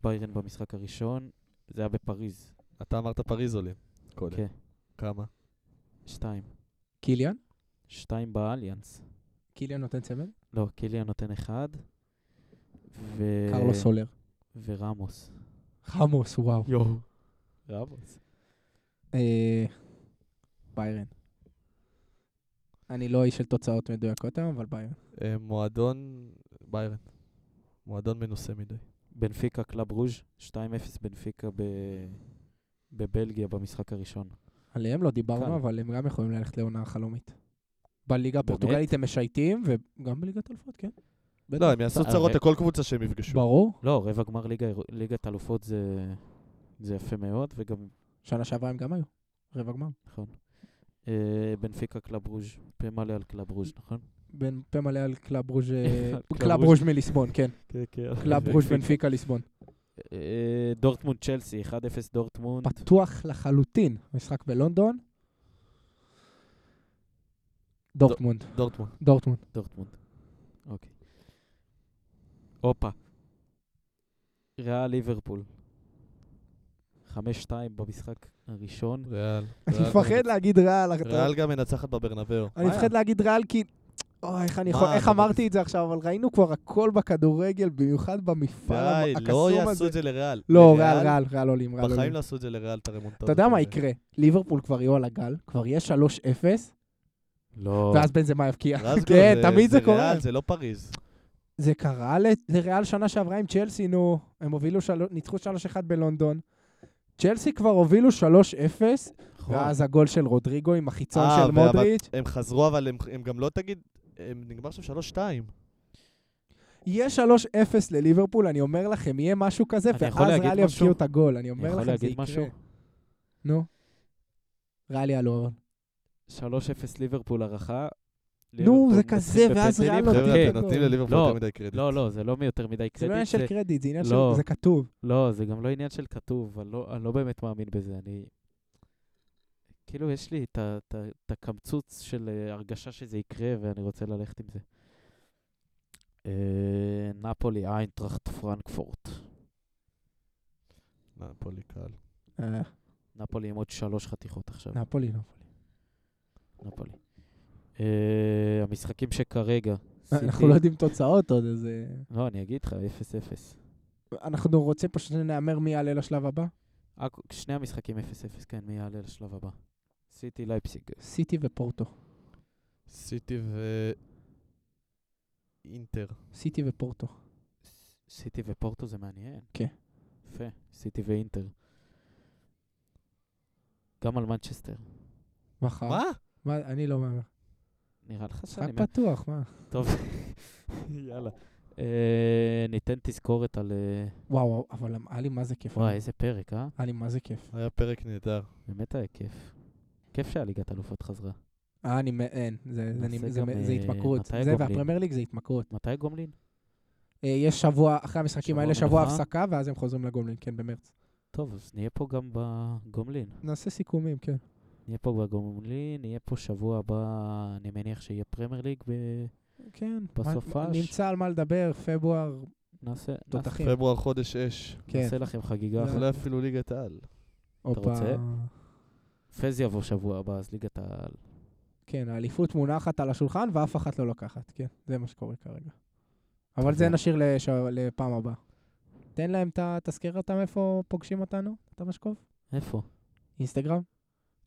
A: ביירן במשחק הראשון. זה היה בפריז.
D: אתה אמרת פריז עולים קודם.
A: כן.
D: כמה?
A: 2.
B: קיליאן?
A: 2 באליאנס.
B: קיליאן נותן צמד?
A: לא, קיליאן נותן 1. ו...
B: קרלו סולר.
A: ורמוס.
B: חמוס, וואו.
A: יואו. רמוס.
B: אה, ביירן. אני לא איש של תוצאות מדויקות היום, אבל ביירן.
D: אה, מועדון ביירן. מועדון מנוסה מדי.
A: בנפיקה קלאב רוז' 2-0 בנפיקה ב... בבלגיה במשחק הראשון.
B: עליהם לא דיברנו,
A: קל.
B: אבל הם גם יכולים ללכת לעונה חלומית. בליגה
A: באמת?
B: הפורטוגלית הם משייטים, וגם בליגת אלפות, כן. בטח.
D: לא, הם יעשו
A: אה,
D: צרות
A: ו-
D: לכל קבוצה שהם יפגשו.
B: ברור.
A: לא, רבע גמר ליגה, ליגת אלופות זה, זה יפה מאוד, וגם,
B: שנה שעברה הם גם היו. רבע גמר.
A: נכון. אה, בנפיקה קלאב רוז', פה מלא על קלאב רוז', נכון?
B: בין פה מלא על קלאב רוז' אה,
A: על קלאב
B: קלאב
A: רוז'.
B: רוז' מליסבון, כן.
A: כן, כן.
B: קלאב רוז' בנפיקה ליסבון.
A: אה, דורטמונד צ'לסי, 1-0 דורטמונד.
B: פתוח לחלוטין. משחק בלונדון. דורטמונד.
D: דורטמונד.
B: דורטמונד.
A: דורטמונד. אוקיי. הופה. ריאל ליברפול. 5-2 במשחק הראשון.
D: ריאל.
B: אני
D: ריאל
B: מפחד
D: גם-
B: להגיד ריאל. אתה-
D: ריאל גם מנצחת בברנבאו.
B: אני
A: מה
B: מפחד להגיד ריאל כי... אוי, איך אני יכול...
D: מה,
B: איך
D: אתה-
B: אמרתי את זה עכשיו, אבל ראינו כבר הכל בכדורגל, במיוחד במפעל
D: די,
B: המ-
D: לא
B: הקסום
D: יעשו
B: הזה.
D: את זה לריאל.
B: לא,
D: לריאל,
B: ריאל, ריאל, ריאל עולים, ריאל
D: בחיים
B: עולים.
D: לא עשו את זה לריאל, את הרמונטות.
B: אתה יודע מה יקרה? ליברפול כבר יהיו על הגל, כבר יהיה 3-0,
A: לא.
B: ואז בנזמה יבקיע.
D: רזגו,
B: כן, תמיד זה קורה.
D: ריאל, זה לא פריז.
B: זה קרה ל- לריאל שנה שעברה עם צ'לסי, נו. הם הובילו, של- ניצחו 3-1 בלונדון. צ'לסי כבר הובילו 3-0, ואז הגול של רודריגו עם החיצון
D: נכון. אה,
B: של
D: והבת-
B: מודריץ'.
D: הם חזרו, אבל הם- הם גם לא תגיד... הם- נגמר שם 3-2.
B: יהיה 3-0 לליברפול, אני אומר לכם, יהיה משהו כזה,
A: אני יכול
B: ואז
A: להגיד
B: ריאל
A: משהו?
B: יבקיעו את הגול, אני
A: אני
B: אומר
A: יכול
B: לכם, זה
A: להגיד
B: יקרה.
A: משהו?
B: נו. ריאל יעלו.
A: 3-0 ליברפול הערכה.
B: נו,
A: ליברפול
B: זה
A: מנצחים
B: כזה, ואז
A: בפנדלים.
B: ריאל
A: חבר'ה,
B: נותנים
D: חבר'ה,
B: את
D: אתם
A: אתם-
B: הגול.
D: נותנים לליברפול
A: לא,
D: יותר מדי קרדיט.
A: לא, לא, זה לא מיותר מדי
B: זה לא עניין
A: קרדיט.
B: של
A: זה-
B: קרדיט, זה עניין של...
A: לא.
B: זה כתוב.
A: לא, זה גם לא עניין של כתוב, אני לא- אני לא באמת מאמין בזה. אני... כאילו, יש לי את ה- את ה- את הקמצוץ של אה, הרגשה שזה יקרה, ואני רוצה ללכת עם זה. אה, נפולי, איינטראכט, פרנקפורט.
D: נפולי קל.
B: אה, לא.
A: נפולי עם עוד שלוש חתיכות עכשיו.
B: נפולי, נפולי.
A: נפולי. אה, המשחקים שכרגע, סיטי...
B: אנחנו לא יודעים תוצאות עוד, אז... אה,
A: לא, אני אגיד לך, 0-0.
B: אנחנו רוצים פשוט שנהמר מי יעלה לשלב הבא?
A: עכו- שני המשחקים 0-0, כן, מי יעלה לשלב הבא? סיטי לייפסיג.
B: סיטי ופורטו.
D: סיטי ו... אינטר.
B: סיטי ופורטו.
A: ס- סיטי ופורטו זה מעניין.
B: כן.
A: יפה, סיטי ואינטר. גם על מנצ'סטר.
B: מחר.
D: מה?
B: מה? אני לא מהמר.
A: נראה לך
B: משחק
A: שאני... מה-
B: פתוח, מה?
A: טוב, יאללה. אה, ניתן תזכורת על... אה,
B: וואו, אבל היה לי מה זה כיף.
A: וואי, איזה פרק, אה?
B: היה לי מה זה כיף.
D: היה פרק נהדר.
A: באמת היה כיף. כיף שהליגת אלופות חזרה.
B: אה, אני... מ- אין. זה- זה-
A: נעשה
B: אני- זה-
A: גם,
B: זה
A: אה,
B: התמכרות.
A: מתי
B: זה
A: גומלין?
B: והפרמייר ליג זה התמכרות.
A: מתי גומלין?
B: אה, יש שבוע, אחרי המשחקים
A: שבוע
B: האלה, שבוע
A: מנוחה.
B: הפסקה, ואז הם חוזרים לגומלין, כן, במרץ.
A: טוב, אז נהיה פה גם בגומלין.
B: נעשה סיכומים, כן.
A: נהיה פה בגומלין, נהיה פה שבוע הבא, אני מניח שיהיה פרמייר ליג,
B: כן.
A: בסופש.
B: מה- נמצא על מה לדבר, פברואר,
A: ונעשה
B: תותחים.
D: פברואר חודש אש.
B: כן.
A: נעשה לכם חגיגה.
B: זה-
A: אחת.
D: אולי אפילו ליגת העל.
B: הופה.
A: רוצה? פז יבוא שבוע הבא, אז ליגת העל.
B: כן, האליפות מונחת על השולחן ואף אחת לא לוקחת, כן. זה מה שקורה כרגע. אבל
A: טוב.
B: זה נשאיר לש- לפעם הבאה. תן להם את ה... תזכיר אותם איפה פוגשים אותנו, אתה משקוב?
A: איפה?
B: אינסטגרם?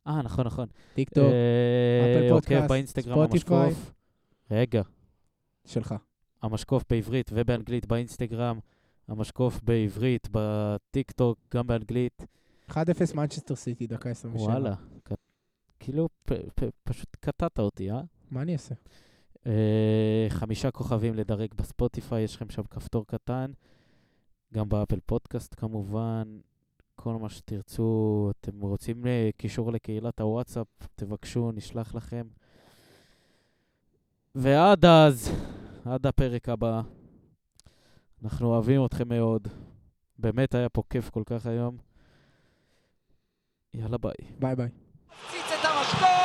A: אה, נכון, נכון.
B: טיק טוק?
A: אה,
B: אפל
A: עוקב
B: פודקאסט,
A: באינסטגרם
B: ספוטיפיי.
A: המשקוף. רגע,
B: שלך.
A: המשקוף בעברית ובאנגלית באינסטגרם. המשקוף בעברית, בטיקטוק, גם באנגלית.
B: 1-0 מנצ'סטר סיטי, דקה 27.
A: וואלה. ק- כאילו, פ- פ- פשוט קטעת אותי, אה?
B: מה אני אעשה?
A: אה, חמישה כוכבים לדרג בספוטיפיי, יש לכם שם כפתור קטן. גם באפל פודקאסט כמובן. כל מה שתרצו, אתם רוצים אה, קישור לקהילת הוואטסאפ, תבקשו, נשלח לכם. ועד אז, עד הפרק הבא, אנחנו אוהבים אתכם מאוד. באמת היה פה כיף כל כך היום. יאללה ביי.
B: ביי ביי.
E: הצית את המשקוף!